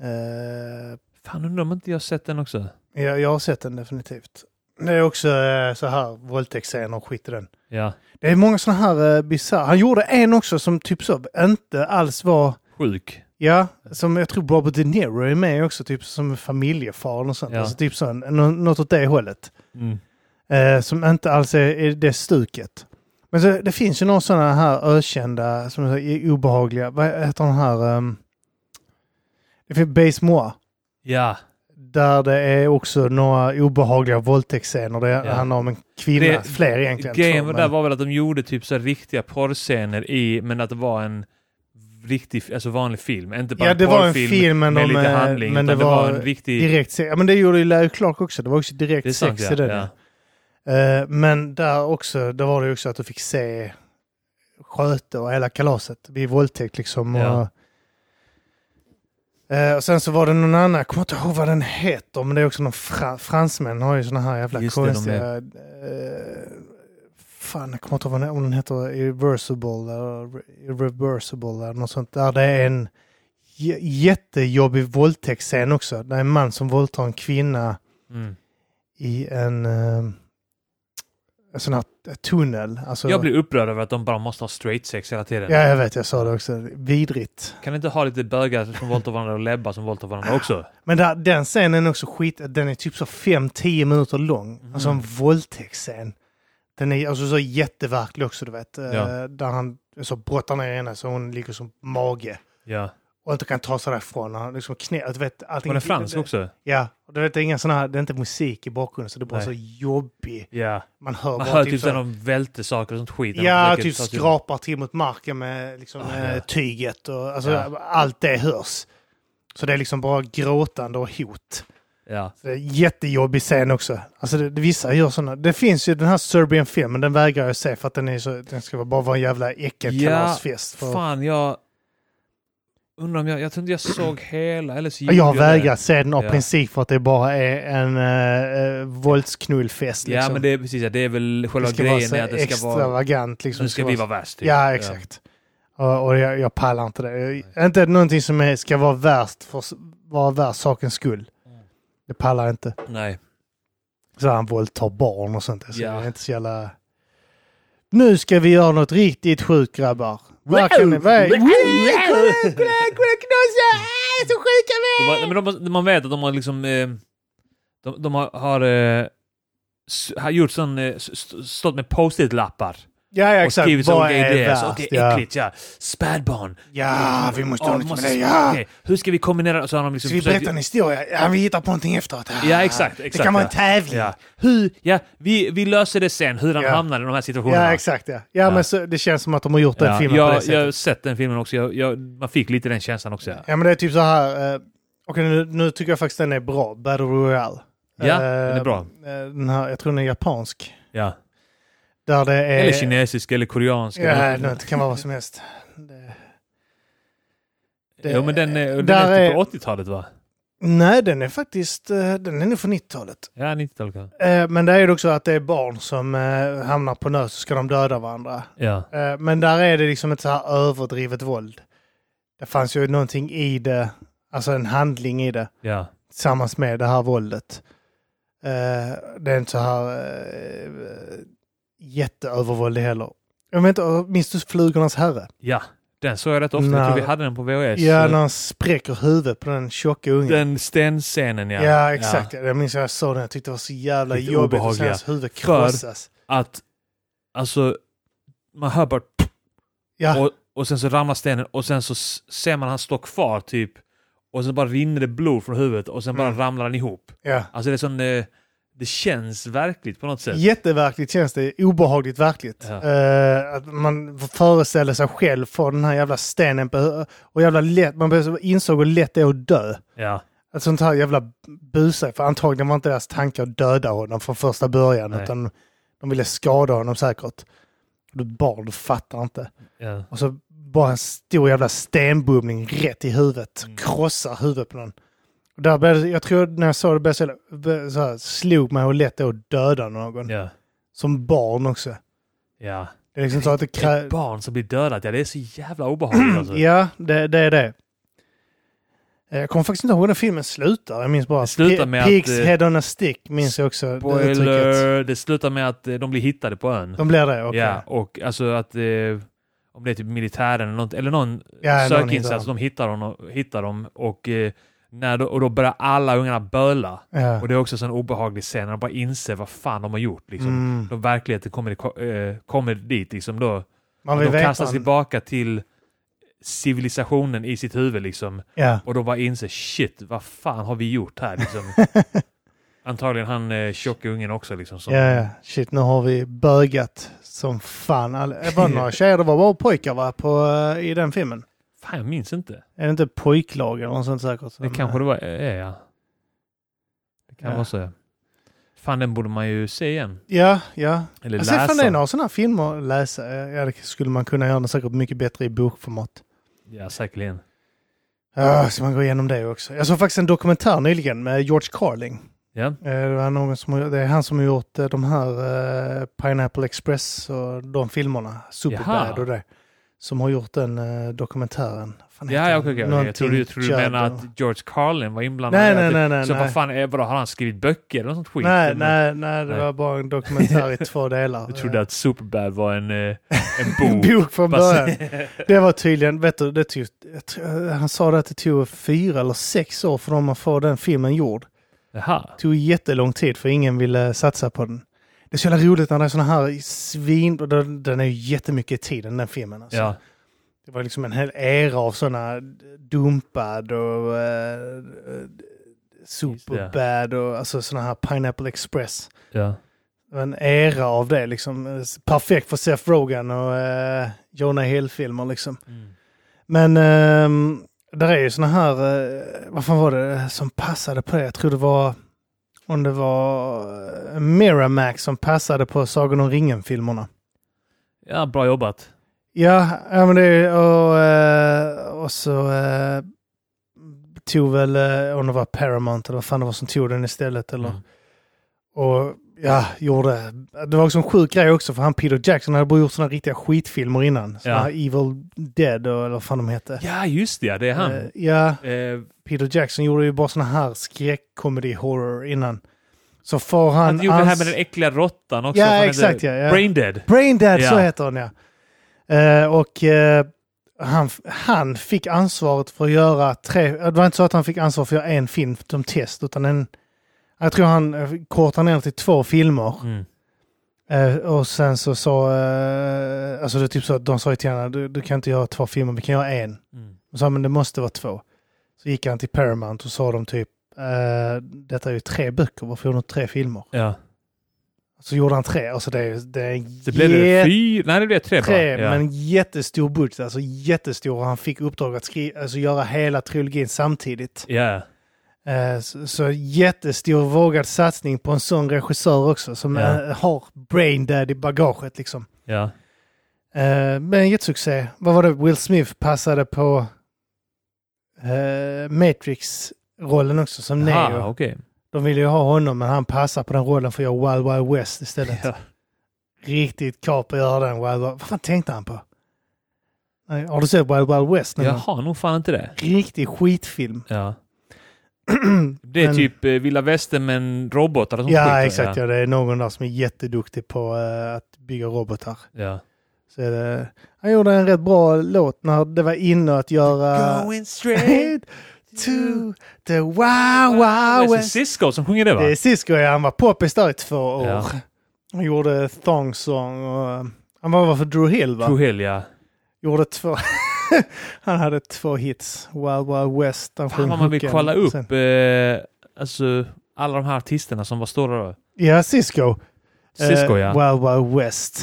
[SPEAKER 2] Eh,
[SPEAKER 1] Fan, undrar om inte jag sett den också?
[SPEAKER 2] ja, jag har sett den definitivt. Det är också eh, så här våldtäktsscener och skit i den.
[SPEAKER 1] Ja.
[SPEAKER 2] Det är många sådana här uh, bisarra. Han gjorde en också som typ så inte alls var,
[SPEAKER 1] Sjuk.
[SPEAKER 2] ja, som jag tror Robert De Niro är med också, typ som familjefar och sånt.
[SPEAKER 1] Ja.
[SPEAKER 2] Alltså typ så, en- nå- något åt det hållet.
[SPEAKER 1] Mm.
[SPEAKER 2] Eh, som inte alls är, är det stuket. Men så, det finns ju några sådana här ökända, som är obehagliga, vad heter den här? ehm, det finns Base Moi.
[SPEAKER 1] Ja.
[SPEAKER 2] Där det är också några obehagliga våldtäktsscener. Det
[SPEAKER 1] Ja.
[SPEAKER 2] handlar om en kvinna,
[SPEAKER 1] Det-
[SPEAKER 2] fler egentligen.
[SPEAKER 1] Grejen
[SPEAKER 2] två, men-
[SPEAKER 1] där var väl att de gjorde typ så här riktiga porrscener i, men att det var en riktig, alltså vanlig film. Inte bara
[SPEAKER 2] Ja, det var en
[SPEAKER 1] porrfilm
[SPEAKER 2] film, men
[SPEAKER 1] med
[SPEAKER 2] de,
[SPEAKER 1] lite
[SPEAKER 2] eh,
[SPEAKER 1] handling.
[SPEAKER 2] men
[SPEAKER 1] utan det var en riktig...
[SPEAKER 2] direkt sex. Ja, men det gjorde ju Larry Clark också. Det var också direkt
[SPEAKER 1] det är sant,
[SPEAKER 2] sex
[SPEAKER 1] ja,
[SPEAKER 2] i den.
[SPEAKER 1] ja.
[SPEAKER 2] Eh, men där också, där var det ju också att du fick se sköte och hela kalaset vid våldtäkt liksom.
[SPEAKER 1] Ja.
[SPEAKER 2] Och, Eh, och sen så var det någon annan, jag kommer inte ihåg vad den heter, men det är också någon fra, fransmän har ju såna här jävla
[SPEAKER 1] Just det, de
[SPEAKER 2] konstiga... eh, fan, jag kommer inte ihåg vad den, om den heter Irreversible eller Irreversible eller något sånt. Där det är en j- jättejobbig våldtäktsscen också. Det är en man som våldtar en kvinna
[SPEAKER 1] Mm.
[SPEAKER 2] i en, eh, en sån här tunnel. Alltså,
[SPEAKER 1] Jag blir upprörd över att de bara måste ha straight sex hela tiden.
[SPEAKER 2] Ja, jag vet, jag sa det också. Vidrigt.
[SPEAKER 1] Kan inte ha lite bögar som våldtar varandra och läbbar som våldtar varandra också?
[SPEAKER 2] Men där, den scenen är också skit. Den är typ så 5-10 minuter lång.
[SPEAKER 1] Mm.
[SPEAKER 2] Alltså en våldtäktsscen. Den är alltså så jätteverklig också, du vet. Eh,
[SPEAKER 1] Ja.
[SPEAKER 2] Där han så brottar ner henne så hon ligger som mage.
[SPEAKER 1] Ja.
[SPEAKER 2] Och inte kan ta sig därifrån. Han liksom knä, du vet, allting,
[SPEAKER 1] Var den fransk
[SPEAKER 2] det-
[SPEAKER 1] också?
[SPEAKER 2] Ja. Och du vet, det är inga såna här, det är inte musik i bakgrunden så det är bara
[SPEAKER 1] Nej.
[SPEAKER 2] så jobbig.
[SPEAKER 1] Ja.
[SPEAKER 2] Man hör
[SPEAKER 1] Man
[SPEAKER 2] bara
[SPEAKER 1] hör typ
[SPEAKER 2] så-
[SPEAKER 1] när de välter saker och sånt skit. när de
[SPEAKER 2] Ja,
[SPEAKER 1] försöker
[SPEAKER 2] typ
[SPEAKER 1] ta sig-
[SPEAKER 2] skrapar till mot marken med liksom,
[SPEAKER 1] Ah,
[SPEAKER 2] eh,
[SPEAKER 1] ja.
[SPEAKER 2] tyget och alltså,
[SPEAKER 1] Ja.
[SPEAKER 2] allt det hörs. Så det är liksom bara gråtande och hot.
[SPEAKER 1] Ja.
[SPEAKER 2] Så det är en jättejobbig scen också. Alltså det, det, vissa gör sådana. Det finns ju den här Serbian-filmen, den vägrar jag se för att den, är så, den ska vara- bara vara en jävla äckelkalasfest. för-
[SPEAKER 1] Fan, jag... Undrar om jag... Jag tror inte jag såg hela, eller så
[SPEAKER 2] Ja, jag
[SPEAKER 1] gjorde det.
[SPEAKER 2] vägrar se den av
[SPEAKER 1] Ja.
[SPEAKER 2] princip för att det bara är en uh, våldsknullfest.
[SPEAKER 1] Ja,
[SPEAKER 2] Liksom.
[SPEAKER 1] men det är precis ja, Det är väl
[SPEAKER 2] Det
[SPEAKER 1] själva
[SPEAKER 2] ska vara
[SPEAKER 1] grejen
[SPEAKER 2] så
[SPEAKER 1] är att det ska vara...
[SPEAKER 2] extravagant. Liksom.
[SPEAKER 1] Nu
[SPEAKER 2] Det
[SPEAKER 1] ska vi vara värst. typ.
[SPEAKER 2] Ja, exakt. Och, och jag, jag pallar inte det. Jag, inte någonting som är, ska vara värst för s- vara värst sakens skull.
[SPEAKER 1] Mm.
[SPEAKER 2] Det pallar jag inte.
[SPEAKER 1] Ja. Nej.
[SPEAKER 2] Så han våldtar barn och sånt. Så
[SPEAKER 1] Ja.
[SPEAKER 2] Det är inte så jävla... Nu ska vi göra något riktigt sjukt grabbar. Vad kan ni... Vad
[SPEAKER 1] Wow!
[SPEAKER 2] knulla! Så sjuka
[SPEAKER 1] De har, nej, men de, har- man vet att de har liksom... eh, De, de har, har, eh, s- har gjort sån... eh, s- st- Stått med post-it-lappar.
[SPEAKER 2] Ja, ja,
[SPEAKER 1] Och skrivit
[SPEAKER 2] exakt.
[SPEAKER 1] så
[SPEAKER 2] Vad
[SPEAKER 1] olika
[SPEAKER 2] är
[SPEAKER 1] idéer. Så,
[SPEAKER 2] värst?
[SPEAKER 1] Okej,
[SPEAKER 2] Ja.
[SPEAKER 1] äckligt. Ja. Spädbarn. Mm.
[SPEAKER 2] ja, vi måste
[SPEAKER 1] Ja, vi
[SPEAKER 2] ha något med
[SPEAKER 1] måste-
[SPEAKER 2] det. Ja!
[SPEAKER 1] okej, Hur ska vi kombinera? Så har de liksom
[SPEAKER 2] Ska vi
[SPEAKER 1] försökt-
[SPEAKER 2] berätta en historia? Ja, vi hittar på någonting efteråt.
[SPEAKER 1] Ja, exakt,
[SPEAKER 2] det
[SPEAKER 1] exakt,
[SPEAKER 2] kan vara
[SPEAKER 1] ja.
[SPEAKER 2] en tävling.
[SPEAKER 1] Ja, hur, ja vi, vi löser det sen, hur han
[SPEAKER 2] Ja.
[SPEAKER 1] hamnade i de här situationerna.
[SPEAKER 2] Ja, exakt. Ja. Ja,
[SPEAKER 1] Ja.
[SPEAKER 2] men så, det känns som att de har gjort den
[SPEAKER 1] Ja,
[SPEAKER 2] filmen på det
[SPEAKER 1] jag, jag har
[SPEAKER 2] sättet.
[SPEAKER 1] sett den filmen också, jag, jag, man fick lite den känslan också. Ja,
[SPEAKER 2] Ja, men det är typ så här. Eh, Okej, nu, nu tycker jag faktiskt den är bra. Battle Royale.
[SPEAKER 1] Ja, den är bra.
[SPEAKER 2] eh, Den här, jag tror den är japansk.
[SPEAKER 1] ja.
[SPEAKER 2] Där det är...
[SPEAKER 1] Eller kinesisk eller koreansk.
[SPEAKER 2] Eh, Ja,
[SPEAKER 1] eller,
[SPEAKER 2] det kan vara vad som helst. Det, det-
[SPEAKER 1] jo, men den, är- den
[SPEAKER 2] eh, där
[SPEAKER 1] är typ
[SPEAKER 2] är-
[SPEAKER 1] på 80-talet va?
[SPEAKER 2] nej, den är faktiskt... eh, Den är nog från 90-talet.
[SPEAKER 1] Ja, 90-talet kanske.
[SPEAKER 2] Eh, Men det är ju också att det är barn som eh, hamnar på nöd så ska de döda varandra.
[SPEAKER 1] Ja.
[SPEAKER 2] Eh, Men där är det liksom ett så här överdrivet våld. Det fanns ju någonting i det, alltså en handling i det,
[SPEAKER 1] Ja.
[SPEAKER 2] tillsammans med det här våldet. Eh, Det är inte så här eh, jätteövervåld heller. Jag vet inte, och minns du Flugornas herre?
[SPEAKER 1] ja, den såg jag rätt ofta. Jag
[SPEAKER 2] Nej.
[SPEAKER 1] tror vi hade den på VHS.
[SPEAKER 2] Ja, när han spräcker huvudet på den tjocka ungen.
[SPEAKER 1] den stenscenen ja.
[SPEAKER 2] ja. exakt. Jag minns jag såg den, jag tyckte det var så jävla
[SPEAKER 1] Lite
[SPEAKER 2] jobbigt att se
[SPEAKER 1] obehagliga.
[SPEAKER 2] hans huvud
[SPEAKER 1] För-
[SPEAKER 2] krossas.
[SPEAKER 1] Att, alltså, man hör bara
[SPEAKER 2] Ja.
[SPEAKER 1] Och, och sen så ramlar stenen och sen så s- ser man han stå kvar typ. Och sen bara rinner det blod från huvudet och sen bara
[SPEAKER 2] Mm.
[SPEAKER 1] ramlar han ihop.
[SPEAKER 2] Ja.
[SPEAKER 1] Alltså det är sån... Eh, det känns verkligt på något sätt.
[SPEAKER 2] Jätteverkligt känns det, obehagligt verkligt.
[SPEAKER 1] Ja.
[SPEAKER 2] Eh, att man föreställer sig själv få den här jävla stenen på hu- och jävla lätt, man började- insåg hur lätt det är att dö.
[SPEAKER 1] Ja.
[SPEAKER 2] Ett sånt här jävla busar, för antagligen var inte deras tanke att döda honom från första början,
[SPEAKER 1] Nej.
[SPEAKER 2] utan de ville skada honom säkert. Du barn, du fattar inte.
[SPEAKER 1] ja.
[SPEAKER 2] Och så bara en stor jävla stenbumling rätt i huvudet,
[SPEAKER 1] Mm.
[SPEAKER 2] krossar huvudet på någon. Och där började, jag tror när jag såg det började, jag säga- började, så här, slog mig hur lätt det är att döda någon.
[SPEAKER 1] Ja.
[SPEAKER 2] Som barn också.
[SPEAKER 1] ja.
[SPEAKER 2] Det är liksom så att det
[SPEAKER 1] Ett
[SPEAKER 2] krävs...
[SPEAKER 1] barn som blir dödat, ja det är så jävla obehagligt alltså.
[SPEAKER 2] Ja, det, det är det. Eh, Jag kommer faktiskt inte ihåg hur den filmen slutar. Jag minns bara...
[SPEAKER 1] Det slutar med att,
[SPEAKER 2] Pigs
[SPEAKER 1] eh,
[SPEAKER 2] head on a stick minns jag också. det uttrycket.
[SPEAKER 1] Spoiler! Det slutar med att eh, de blir hittade på ön.
[SPEAKER 2] De blir det, okej.
[SPEAKER 1] Ja, och alltså att... Eh, om det är typ militären eller något, eller någon
[SPEAKER 2] Ja, Äh, någon hittar
[SPEAKER 1] sökinsats, de hittar dem, hittar dem och, eh, när de, och då börjar alla ungarna böla.
[SPEAKER 2] Ja.
[SPEAKER 1] Och det är också en sån obehaglig scen när de bara inser vad fan de har gjort. Liksom.
[SPEAKER 2] Mm.
[SPEAKER 1] Då verkligheten kommer, i ko- eh, kommer dit. Liksom, då,
[SPEAKER 2] Man vill
[SPEAKER 1] de
[SPEAKER 2] veta.
[SPEAKER 1] kastas tillbaka till civilisationen i sitt huvud. Liksom.
[SPEAKER 2] Ja.
[SPEAKER 1] Och då bara inser shit, vad fan har vi gjort här? Liksom. Antagligen han eh, tjocka ungen också. Liksom, som,
[SPEAKER 2] ja, ja. Shit, nu har vi bögat som fan. all- Det var några tjejer, det var bara pojkar va? På, eh, I den filmen.
[SPEAKER 1] Fan, jag minns inte.
[SPEAKER 2] Är det inte pojklag eller något sånt säkert?
[SPEAKER 1] Det
[SPEAKER 2] som,
[SPEAKER 1] kanske
[SPEAKER 2] eh,
[SPEAKER 1] det var, är, ja. Det kan
[SPEAKER 2] Ja.
[SPEAKER 1] vara så. Ja. Fan, den borde man ju se igen.
[SPEAKER 2] Ja, ja.
[SPEAKER 1] Eller
[SPEAKER 2] Alltså,
[SPEAKER 1] läsa.
[SPEAKER 2] ifall det är några sådana filmer att läsa, eh, ja, det skulle man kunna göra den säkert mycket bättre i bokformat.
[SPEAKER 1] Ja, säkerligen.
[SPEAKER 2] Ja, så man går igenom det också. Jag såg faktiskt en dokumentär nyligen med George Carling.
[SPEAKER 1] Ja.
[SPEAKER 2] Eh, Det, var någon som, har- det är han som har gjort eh, de här eh, Pineapple Express och de filmerna. Superbad
[SPEAKER 1] Jaha.
[SPEAKER 2] och det. Som har gjort den eh, dokumentären. Fan, heter
[SPEAKER 1] Ja, jag,
[SPEAKER 2] den?
[SPEAKER 1] jag, jag,
[SPEAKER 2] Någonting
[SPEAKER 1] jag tror du, tror du
[SPEAKER 2] Judd
[SPEAKER 1] menar
[SPEAKER 2] och-
[SPEAKER 1] att George Carlin var inblandad.
[SPEAKER 2] Nej,
[SPEAKER 1] i att
[SPEAKER 2] nej,
[SPEAKER 1] det- typ.
[SPEAKER 2] nej, nej,
[SPEAKER 1] Så
[SPEAKER 2] nej.
[SPEAKER 1] vad fan, är, vadå, har han skrivit böcker eller något sånt skit?
[SPEAKER 2] Nej,
[SPEAKER 1] eller?
[SPEAKER 2] nej, nej, det
[SPEAKER 1] Nej.
[SPEAKER 2] var bara en dokumentär i två delar.
[SPEAKER 1] Jag trodde att Superbad var en, eh,
[SPEAKER 2] Eh,
[SPEAKER 1] en bok.
[SPEAKER 2] bok från
[SPEAKER 1] Bas-
[SPEAKER 2] början. Det var tydligen, vet du, det tog, jag tror- han sa det att det tog fyra eller sex år för dem att få den filmen gjord.
[SPEAKER 1] Jaha.
[SPEAKER 2] tog jättelång tid för ingen ville satsa på den. Det är så jävla roligt när det är sådana här svin... och Den den är ju jättemycket i tiden den filmen. Alltså.
[SPEAKER 1] Ja.
[SPEAKER 2] Det var liksom en hel era av sådana dumpad och eh, superbad och alltså sådana här Pineapple Express.
[SPEAKER 1] ja.
[SPEAKER 2] Det var En era av det liksom. Eh, Perfekt för Seth Rogen och eh, Jonah Hill-filmer liksom.
[SPEAKER 1] Mm.
[SPEAKER 2] Men ehm, där är ju såna här, eh, vad fan var det som passade på det? Jag tror det var, om det var eh, Miramax som passade på Sagan om ringen-filmerna.
[SPEAKER 1] Ja, bra jobbat.
[SPEAKER 2] Ja, ja men det är- och, eh, och så eh, tog väl, eh, om det var Paramount eller vad fan det var som tog den istället eller
[SPEAKER 1] Mm.
[SPEAKER 2] och ja, gjorde. Det var också en sjuk grej också för han Peter Jackson hade bara gjort sådana riktiga skitfilmer innan. Såna
[SPEAKER 1] Ja.
[SPEAKER 2] här Evil Dead och, eller vad fan de hette.
[SPEAKER 1] Ja, just det. ja, Det är han.
[SPEAKER 2] Eh, ja,
[SPEAKER 1] Eh,
[SPEAKER 2] Peter Jackson gjorde ju bara såna här skräckkomedi horror innan. Så får han...
[SPEAKER 1] han gjorde det här
[SPEAKER 2] ans-
[SPEAKER 1] med den äckliga råttan också.
[SPEAKER 2] Ja,
[SPEAKER 1] Han heter
[SPEAKER 2] exakt, ja, ja.
[SPEAKER 1] Brain Dead.
[SPEAKER 2] Brain Dead, så
[SPEAKER 1] Ja.
[SPEAKER 2] heter han ja. Eh, och eh, han, han fick ansvaret för att göra tre... eh, Det var inte så att han fick ansvar för att göra en film som test, utan en... Jag tror han eh, kortade ner till två filmer.
[SPEAKER 1] Mm.
[SPEAKER 2] Eh, och sen så sa... Eh, alltså det är typ så att de sa ju till honom, du, du kan inte göra två filmer, vi kan göra en.
[SPEAKER 1] Mm.
[SPEAKER 2] Och sa men det måste vara två. Så gick han till Paramount och sa de typ eh, detta är ju tre böcker, varför gjorde du inte tre filmer?
[SPEAKER 1] Ja.
[SPEAKER 2] Så gjorde han tre, alltså det är, det är en
[SPEAKER 1] Det blev det fyra... Nej, det blev tre, bara.
[SPEAKER 2] tre,
[SPEAKER 1] Ja.
[SPEAKER 2] men jättestor budget, alltså jättestor. Och han fick uppdrag att skriva, alltså göra hela trilogin samtidigt.
[SPEAKER 1] Ja.
[SPEAKER 2] Eh, så, så jättestor vågad satsning på en sån regissör också som
[SPEAKER 1] Ja.
[SPEAKER 2] eh, har brain dead i bagaget liksom.
[SPEAKER 1] Ja.
[SPEAKER 2] Eh, men jättesuccé. Vad var det? Will Smith passade på eh, Matrix-rollen också som
[SPEAKER 1] Aha,
[SPEAKER 2] Neo.
[SPEAKER 1] okej.
[SPEAKER 2] De ville ju ha honom men han passade på den rollen för att göra Wild Wild West istället.
[SPEAKER 1] Ja.
[SPEAKER 2] Riktigt kap att göra den Wild Wild... Vad fan tänkte han på? Nej, har du sett Wild Wild West? någon
[SPEAKER 1] Jag
[SPEAKER 2] gång?
[SPEAKER 1] har nog fan inte det.
[SPEAKER 2] Riktig skitfilm.
[SPEAKER 1] Ja. Det är
[SPEAKER 2] Men-
[SPEAKER 1] typ eh, vilda västern men robotar och sånt skit,
[SPEAKER 2] ja,
[SPEAKER 1] va?
[SPEAKER 2] exakt.
[SPEAKER 1] Ja.
[SPEAKER 2] Ja. Det är någon där som är jätteduktig på eh, att bygga robotar.
[SPEAKER 1] Ja.
[SPEAKER 2] Så är det, han gjorde en rätt bra låt när det var inne att göra...
[SPEAKER 1] Going
[SPEAKER 2] straight to the wow wow
[SPEAKER 1] Det är
[SPEAKER 2] west.
[SPEAKER 1] Cisco som sjunger det, va?
[SPEAKER 2] Det är Cisco, ja. Han var poppis där i två år.
[SPEAKER 1] Ja.
[SPEAKER 2] Han gjorde Thong Song och... Han var för Drew Hill, va?
[SPEAKER 1] True Hill, ja.
[SPEAKER 2] Gjorde två... han hade två hits. Wild Wild West. Han
[SPEAKER 1] Fan
[SPEAKER 2] sjöng
[SPEAKER 1] vad man vill
[SPEAKER 2] hooken.
[SPEAKER 1] kolla
[SPEAKER 2] Sen-
[SPEAKER 1] upp eh, alltså, alla de här artisterna som var stora då.
[SPEAKER 2] Ja, Cisco.
[SPEAKER 1] Cisco
[SPEAKER 2] Eh,
[SPEAKER 1] ja.
[SPEAKER 2] Wild Wild West.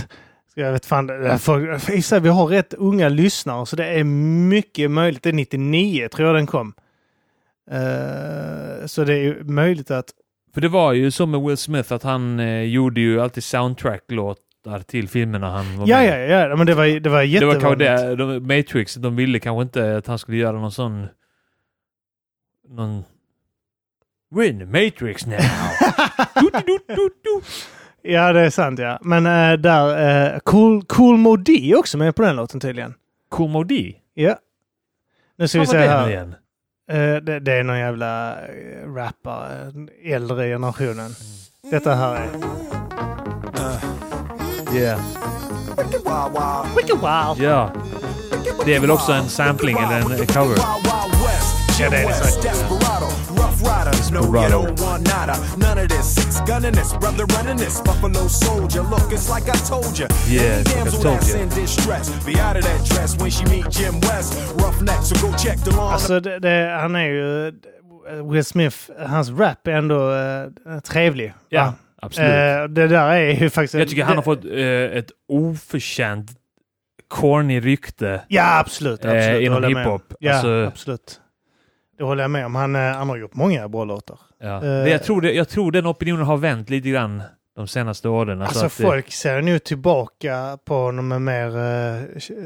[SPEAKER 2] Så Jag vet fan, det där folk- för i sig, vi har rätt unga lyssnare så det är mycket möjligt. Det är 99 tror jag den kom. Eh, så det är ju möjligt att
[SPEAKER 1] För det var ju så med Will Smith att han eh, gjorde ju alltid soundtrack-låtar till filmerna han var
[SPEAKER 2] Ja,
[SPEAKER 1] med
[SPEAKER 2] ja, ja, men det var, det var
[SPEAKER 1] Det var
[SPEAKER 2] jättevanligt.
[SPEAKER 1] kanske det, de, Matrix, de ville kanske inte att han skulle göra någon sån... Någon... We're in the Matrix now! Du-du-du-du-du.
[SPEAKER 2] ja, det är sant ja. Men eh, där, eh, cool, cool Modi är också med på den låten tydligen.
[SPEAKER 1] Cool Modi?
[SPEAKER 2] Ja. Nu ska vi
[SPEAKER 1] Vad var
[SPEAKER 2] se
[SPEAKER 1] det nu
[SPEAKER 2] här.
[SPEAKER 1] igen?
[SPEAKER 2] Eh, det, det är någon jävla eh, rappare, den äldre generationen. Detta här är...
[SPEAKER 1] Yeah.
[SPEAKER 3] Wicked Wild Wild.
[SPEAKER 2] Wicked Wild!
[SPEAKER 1] Ja, det är väl också en sampling eller en cover.
[SPEAKER 3] Wild Wild West.
[SPEAKER 2] Yeah, that is right.
[SPEAKER 3] West, Desperado, Rough Riders, no
[SPEAKER 1] Desperado.
[SPEAKER 3] you don't want nada. None of this, six gunning this, brother running this, Buffalo Soldier. Look, it's like I told you.
[SPEAKER 1] Yeah,
[SPEAKER 3] Any
[SPEAKER 1] it's like I
[SPEAKER 3] damsel
[SPEAKER 1] told
[SPEAKER 3] that's
[SPEAKER 1] ya.
[SPEAKER 3] in distress, be out of that dress when she meet Jim West. Rough neck, so go check the lawn.
[SPEAKER 2] Alltså, det, det, han är ju... Will Smith, hans rap är ändå eh, trevlig.
[SPEAKER 1] Ja,
[SPEAKER 2] va?
[SPEAKER 1] absolut.
[SPEAKER 2] Eh, det där är ju faktiskt...
[SPEAKER 1] Jag tycker han har
[SPEAKER 2] det-
[SPEAKER 1] fått eh, ett oförtjänt corny rykte.
[SPEAKER 2] Ja, absolut.
[SPEAKER 1] Eh,
[SPEAKER 2] absolut det
[SPEAKER 1] inom
[SPEAKER 2] håller jag med om.
[SPEAKER 1] hiphop.
[SPEAKER 2] Ja,
[SPEAKER 1] Alltså-
[SPEAKER 2] absolut. Det håller jag med om. Han, eh, han har gjort många bra låtar.
[SPEAKER 1] Ja.
[SPEAKER 2] Eh.
[SPEAKER 1] Det, jag, tror det, jag tror den opinionen har vänt lite grann de senaste åren. Alltså
[SPEAKER 2] Alltså,
[SPEAKER 1] att, eh,
[SPEAKER 2] folk ser nu tillbaka på honom med mer... Eh, eh,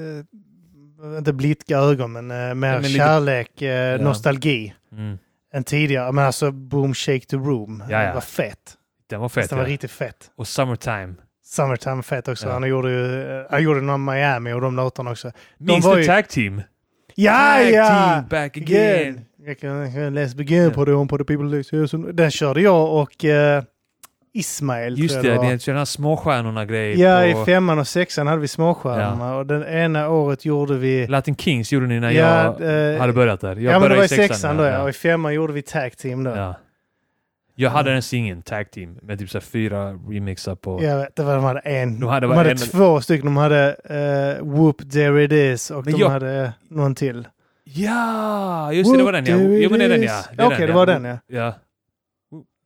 [SPEAKER 2] inte blidka ögon, men eh, mer
[SPEAKER 1] men lite-
[SPEAKER 2] kärlek, eh, nostalgi.
[SPEAKER 1] Mm.
[SPEAKER 2] Än tidigare. Men alltså Boom Shake the Room.
[SPEAKER 1] Ja, ja.
[SPEAKER 2] Det var fett.
[SPEAKER 1] Den var fet.
[SPEAKER 2] Fett, det var
[SPEAKER 1] ja.
[SPEAKER 2] riktigt fett.
[SPEAKER 1] Och Summertime.
[SPEAKER 2] Summertime var fett också.
[SPEAKER 1] Ja.
[SPEAKER 2] Han gjorde ju, eh, han gjorde någon Miami och de låtarna också.
[SPEAKER 1] Minns
[SPEAKER 2] var
[SPEAKER 1] du
[SPEAKER 2] ju-
[SPEAKER 1] Tag Team?
[SPEAKER 2] Ja,
[SPEAKER 1] tag
[SPEAKER 2] ja!
[SPEAKER 1] Team back again!
[SPEAKER 2] Again. Again. Let's begin på det on på the people lose you. Så Den körde jag och eh, Ismail. tror
[SPEAKER 1] Just
[SPEAKER 2] jag
[SPEAKER 1] det,
[SPEAKER 2] var.
[SPEAKER 1] det är den här småstjärnorna-grejen.
[SPEAKER 2] Ja,
[SPEAKER 1] på-
[SPEAKER 2] i femman och sexan hade vi småskärmarna och den ena året gjorde vi...
[SPEAKER 1] Latin Kings gjorde ni när
[SPEAKER 2] Ja,
[SPEAKER 1] jag
[SPEAKER 2] eh,
[SPEAKER 1] hade börjat där. Jag
[SPEAKER 2] ja, men det
[SPEAKER 1] började
[SPEAKER 2] var i sexan, då ja.
[SPEAKER 1] ja.
[SPEAKER 2] Och i femman gjorde vi tag team då. Ja.
[SPEAKER 1] Ja. Jag hade den singeln, Tag Team, med typ så här fyra remixar på...
[SPEAKER 2] Jag vet, det var, de hade en.
[SPEAKER 1] De hade
[SPEAKER 2] de
[SPEAKER 1] bara
[SPEAKER 2] hade
[SPEAKER 1] en-
[SPEAKER 2] två stycken. De hade eh, Whoop There It Is och
[SPEAKER 1] Men
[SPEAKER 2] de
[SPEAKER 1] jag-
[SPEAKER 2] hade eh, någon till.
[SPEAKER 1] Ja, just det, det var den ja.
[SPEAKER 2] Whoop, there
[SPEAKER 1] Jo, men det är
[SPEAKER 2] it
[SPEAKER 1] den
[SPEAKER 2] is.
[SPEAKER 1] ja.
[SPEAKER 2] Okej, det var den ja.
[SPEAKER 1] Ja.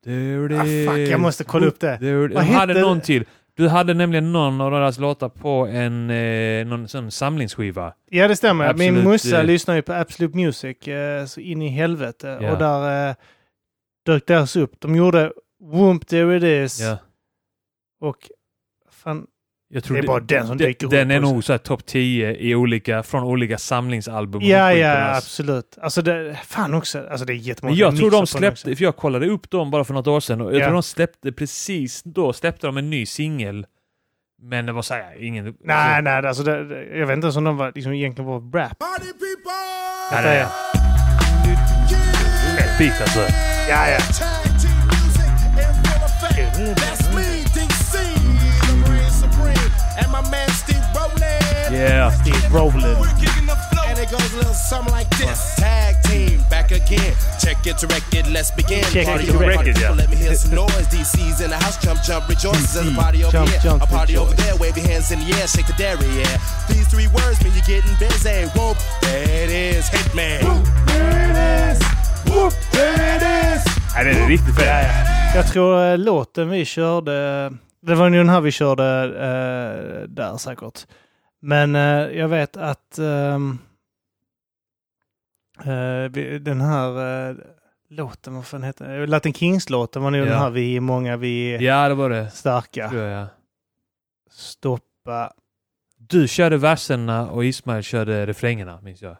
[SPEAKER 1] There it
[SPEAKER 2] Ah,
[SPEAKER 1] is.
[SPEAKER 2] fuck, jag måste kolla upp det.
[SPEAKER 1] There it-
[SPEAKER 2] Vad
[SPEAKER 1] Jag hade
[SPEAKER 2] hette
[SPEAKER 1] någon
[SPEAKER 2] det?
[SPEAKER 1] till. Du hade nämligen någon av deras låtar på en eh, någon sån samlingsskiva.
[SPEAKER 2] Ja, det stämmer. Min
[SPEAKER 1] Absolut,
[SPEAKER 2] morsa
[SPEAKER 1] eh,
[SPEAKER 2] lyssnar ju på Absolute Music eh, så in i helvete.
[SPEAKER 1] Ja.
[SPEAKER 2] Och där eh, dök deras upp. De gjorde Whoop There It Is
[SPEAKER 1] Ja.
[SPEAKER 2] och... Fan,
[SPEAKER 1] Jag tror
[SPEAKER 2] det är bara den som
[SPEAKER 1] den,
[SPEAKER 2] dyker upp.
[SPEAKER 1] den är
[SPEAKER 2] också.
[SPEAKER 1] nog så här topp 10 i olika, från olika samlingsalbum. och
[SPEAKER 2] Ja,
[SPEAKER 1] skit på
[SPEAKER 2] ja,
[SPEAKER 1] deras-
[SPEAKER 2] absolut. Alltså det, fan också. Alltså det är jättemånga
[SPEAKER 1] Men jag
[SPEAKER 2] mixar
[SPEAKER 1] tror
[SPEAKER 2] på
[SPEAKER 1] de
[SPEAKER 2] den också.
[SPEAKER 1] släppte, för jag kollade upp dem bara för något år sedan och jag
[SPEAKER 2] Ja.
[SPEAKER 1] tror de släppte precis då, släppte de en ny singel. Men det var såhär, ingen...
[SPEAKER 2] Nej, nej, alltså det, det- jag vet inte ens om de var, liksom, egentligen var rap.
[SPEAKER 3] Party people!
[SPEAKER 1] nej, nej. nej. Fett beat alltså.
[SPEAKER 2] Ja, ja.
[SPEAKER 3] Tag team music is in effect. That's me, DC, the brand supreme, and my man Steve Rowland.
[SPEAKER 1] Yeah.
[SPEAKER 2] Steve Rowland.
[SPEAKER 3] We're kicking the flow. And it goes a little something like this. Tag team, back again. Check it, directed, let's begin.
[SPEAKER 2] Check
[SPEAKER 3] Party
[SPEAKER 2] it,
[SPEAKER 3] over,
[SPEAKER 1] direct
[SPEAKER 3] party
[SPEAKER 1] it, yeah.
[SPEAKER 3] people, Let me hear some noise. DC's in the house, jump, jump, rejoice. There's a
[SPEAKER 2] DC,
[SPEAKER 3] party over
[SPEAKER 2] jump,
[SPEAKER 3] here,
[SPEAKER 2] jump,
[SPEAKER 3] a party over
[SPEAKER 2] rejoice.
[SPEAKER 3] there. Wave your hands in the air, shake the dairy, yeah. These three words mean you're getting busy. Whoop, there it is, Hitman. Whoop, there it is. Whoop, there it is.
[SPEAKER 1] Nej, den är riktigt fet.
[SPEAKER 2] Jag tror eh, låten vi körde, det var ju den här vi körde eh, där säkert. Men eh, jag vet att ehm, eh, vi- den här eh, låten, vad fan heter den? Latin Kings-låten var nog
[SPEAKER 1] Ja.
[SPEAKER 2] den här Vi är många, vi är
[SPEAKER 1] Ja, det var det.
[SPEAKER 2] starka.
[SPEAKER 1] Tror jag, ja.
[SPEAKER 2] Stoppa.
[SPEAKER 1] Du körde verserna och Ismail körde refrängerna, minns jag.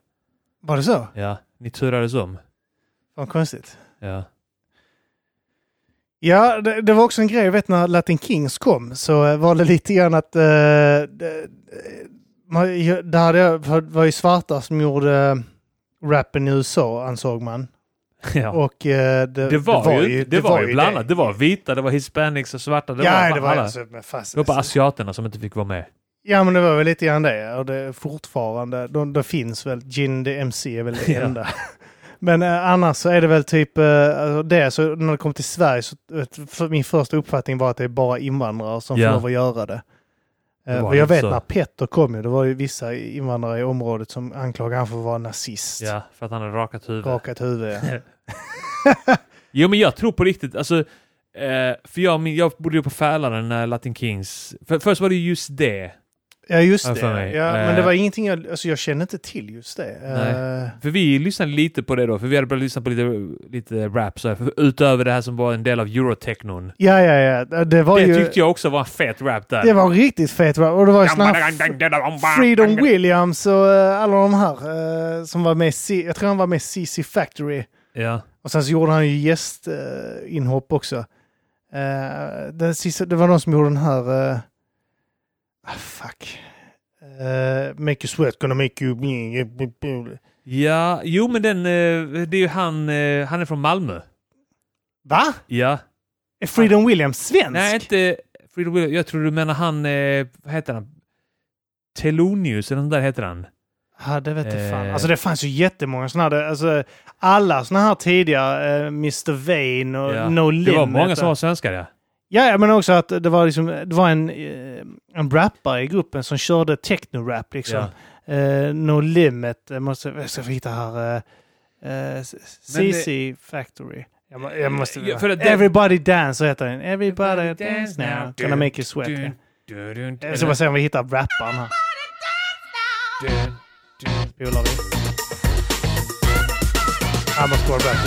[SPEAKER 2] Var det så?
[SPEAKER 1] Ja, ni turades om.
[SPEAKER 2] Vad konstigt.
[SPEAKER 1] Ja.
[SPEAKER 2] Ja, det, det var också en grej, jag vet när Latin Kings kom så eh, var det lite grann att... Eh, det, eh, man, ju- där hade jag, för det var ju svarta som gjorde eh, rappen i USA ansåg man.
[SPEAKER 1] ja.
[SPEAKER 2] Och eh, det,
[SPEAKER 1] Det var, ju, det var ju blandat. Det. var vita, det var hispanics och svarta. Det
[SPEAKER 2] ja,
[SPEAKER 1] var,
[SPEAKER 2] det var
[SPEAKER 1] alla.
[SPEAKER 2] alltså, men fast,
[SPEAKER 1] det var bara asiaterna som inte fick vara med.
[SPEAKER 2] Ja, men det var väl lite grann det. Och det är fortfarande, de, det finns väl, Gin the MC är väl det
[SPEAKER 1] Ja.
[SPEAKER 2] enda. Men eh, annars så är det väl typ eh, alltså det, så när det kom till Sverige så eh, för min första uppfattning var att det är bara invandrare som
[SPEAKER 1] Ja.
[SPEAKER 2] får lov att göra det.
[SPEAKER 1] Det
[SPEAKER 2] Eh,
[SPEAKER 1] var
[SPEAKER 2] och jag
[SPEAKER 1] det
[SPEAKER 2] vet
[SPEAKER 1] så.
[SPEAKER 2] när Petter kom ju, det var ju vissa invandrare i området som anklagade han för att vara nazist.
[SPEAKER 1] Ja, för att han hade rakat huvud.
[SPEAKER 2] Rakat huvud. ja.
[SPEAKER 1] Jo men jag tror på riktigt, alltså, eh, för jag, min- jag bodde ju på Fälaren när Latin Kings, för, först var det ju just det.
[SPEAKER 2] Ja, just
[SPEAKER 1] Ja,
[SPEAKER 2] det.
[SPEAKER 1] för mig.
[SPEAKER 2] Ja, men det
[SPEAKER 1] Eh.
[SPEAKER 2] var ingenting jag, alltså jag kände inte till just det.
[SPEAKER 1] Nej.
[SPEAKER 2] Eh,
[SPEAKER 1] För vi lyssnade lite på det då, för vi hade börjat lyssna på lite, lite rap så här, för, utöver det här som var en del av Eurotechnon.
[SPEAKER 2] ja, ja, ja. Det var
[SPEAKER 1] Det
[SPEAKER 2] ju...
[SPEAKER 1] tyckte jag också var en fet rap där.
[SPEAKER 2] Det var riktigt fet va? Och det var ju såna här Freedom Williams och eh, alla de här eh, som var med, i C- jag tror han var med i CC Factory.
[SPEAKER 1] Ja.
[SPEAKER 2] Och sen så gjorde han ju gästinhopp också. Eh, den sista, det var någon som gjorde den här, eh, ah, fuck. Eh, make you sweat, gonna make you...
[SPEAKER 1] ja, jo men den, eh, det är ju han, eh, han är från Malmö.
[SPEAKER 2] Va?
[SPEAKER 1] Ja.
[SPEAKER 2] Är Freedom Williams svensk?
[SPEAKER 1] Nej inte Freedom Will, jag tror du menar han, eh, vad heter han? Telonius eller nåt där heter han.
[SPEAKER 2] Ja, det vet jag fan.
[SPEAKER 1] Eh.
[SPEAKER 2] Alltså det fanns ju jättemånga sådana här. Alltså, alla sådana här tidigare, eh, Mr. Vain och
[SPEAKER 1] Ja.
[SPEAKER 2] No Limit.
[SPEAKER 1] Det var många som
[SPEAKER 2] och-
[SPEAKER 1] var svenskar ja.
[SPEAKER 2] Ja, ja, men också att det var, liksom, det var en, eh, en rappare i gruppen som körde techno-rap. Liksom. Eh, no Limit. Jag, måste, jag ska hitta här. eh, eh, CC Factory. Jag, må- jag måste,
[SPEAKER 1] Ja, för att det-
[SPEAKER 2] Everybody Dance heter den. Everybody
[SPEAKER 1] Everybody
[SPEAKER 2] Dance
[SPEAKER 1] dance
[SPEAKER 2] Now.
[SPEAKER 1] now.
[SPEAKER 2] Gonna make you sweat. ja. Jag ska bara se om vi hittar rapparen här. Spolar vi. I'm a score back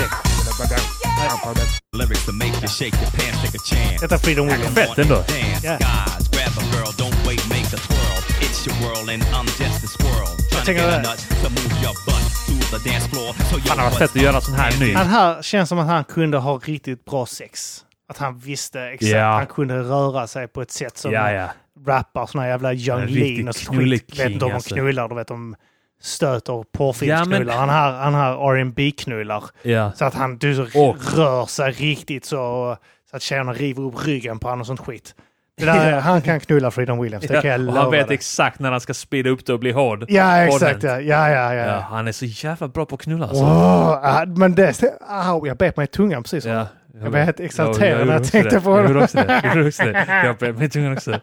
[SPEAKER 4] Lyrics to make you shake your pants, take a chance.
[SPEAKER 2] Detta är Freedom Williams.
[SPEAKER 1] Fett ändå.
[SPEAKER 4] Dance,
[SPEAKER 2] Yeah.
[SPEAKER 4] guys, grab a girl, don't wait, make a twirl. It's twist your world and I'm just a squirrel. Trying to
[SPEAKER 2] tänker
[SPEAKER 4] get a
[SPEAKER 2] det.
[SPEAKER 4] nut to move your butt to the dance floor. So your
[SPEAKER 1] Fan, det var
[SPEAKER 4] butt's
[SPEAKER 1] fett att göra sån här ny.
[SPEAKER 2] Han här känns som att han kunde ha riktigt bra sex. Att han visste exakt.
[SPEAKER 1] Ja.
[SPEAKER 2] Han kunde röra sig på ett sätt som
[SPEAKER 1] Ja, ja.
[SPEAKER 2] rappar såna här jävla Young
[SPEAKER 1] En riktig
[SPEAKER 2] Lean och skit.
[SPEAKER 1] knulleking,
[SPEAKER 2] Vet inte om de
[SPEAKER 1] alltså.
[SPEAKER 2] knullar, du vet de stöter och porrfilmsknullar.
[SPEAKER 1] Ja, men-
[SPEAKER 2] Han här, han här R&B knullar
[SPEAKER 1] ja.
[SPEAKER 2] Så att han du, så
[SPEAKER 1] Och-
[SPEAKER 2] rör sig riktigt så, så att tjejerna river upp ryggen på honom och sånt skit. Det där, är- han kan knulla Freedom Williams, det kan jag
[SPEAKER 1] Ja,
[SPEAKER 2] lova
[SPEAKER 1] och han vet
[SPEAKER 2] dig.
[SPEAKER 1] exakt när han ska speeda upp det och bli hård.
[SPEAKER 2] Ja,
[SPEAKER 1] Hårdhänt.
[SPEAKER 2] exakt. Ja, ja, ja. ja.
[SPEAKER 1] Ja, han är så jävla bra på att knulla alltså.
[SPEAKER 2] Åh, ah, men det... Au, jag bet mig i tungan precis.
[SPEAKER 1] Ja,
[SPEAKER 2] Jag blev helt exalterad när jag
[SPEAKER 1] gjorde också
[SPEAKER 2] tänkte
[SPEAKER 1] det.
[SPEAKER 2] på
[SPEAKER 1] Jag
[SPEAKER 2] det.
[SPEAKER 1] gjorde också det. Jag gjorde också det. Jag bet mig i tungan också.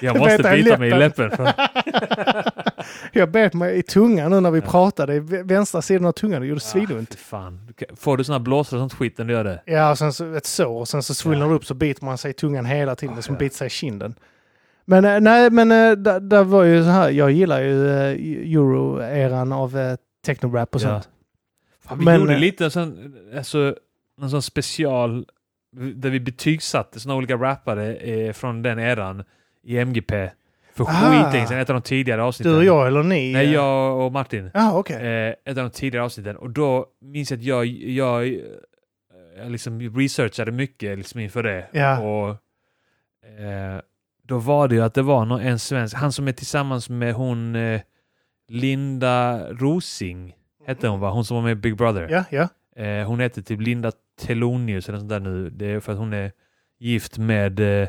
[SPEAKER 1] Jag
[SPEAKER 2] Du
[SPEAKER 1] måste
[SPEAKER 2] bet dig i
[SPEAKER 1] bita mig i läppen. för-
[SPEAKER 2] Jag bet mig i tungan nu när vi pratade. i vä- Vänstra sidan av tungan, det gjorde svinont.
[SPEAKER 1] Fy Fan. Du kan- Får du såna blåsor och sånt skit när du gör det?
[SPEAKER 2] Ja, och sen så ett sår och sen så svullnar det upp så biter man sig i tungan hela tiden som biter sig i kinden. Men eh, nej, men eh, där, där var ju så här, jag gillar ju eh, euro-eran av eh, techno-rap och
[SPEAKER 1] Ja.
[SPEAKER 2] sånt.
[SPEAKER 1] Fan, vi
[SPEAKER 2] Men- eh,
[SPEAKER 1] gjorde lite en sån, alltså, en sån special där vi betygsatte såna olika rappare eh, från den eran i MGP. För
[SPEAKER 2] Ah.
[SPEAKER 1] skitlänge sedan, ett av de tidigare avsnitten.
[SPEAKER 2] Du och jag eller ni?
[SPEAKER 1] Nej, jag och Martin.
[SPEAKER 2] Ja, ah, okej.
[SPEAKER 1] eh, ett av de tidigare avsnitten. Och då minns jag att jag, jag, eh, jag liksom researchade mycket liksom inför det.
[SPEAKER 2] Ja.
[SPEAKER 1] Och, eh, då var det ju att det var någon, en svensk, han som är tillsammans med hon eh, Linda Rosing, hette hon va? Hon som var med i Big Brother.
[SPEAKER 2] Ja, ja.
[SPEAKER 1] Eh, hon heter typ Linda Telonius eller sånt där nu. Det är för att hon är gift med eh,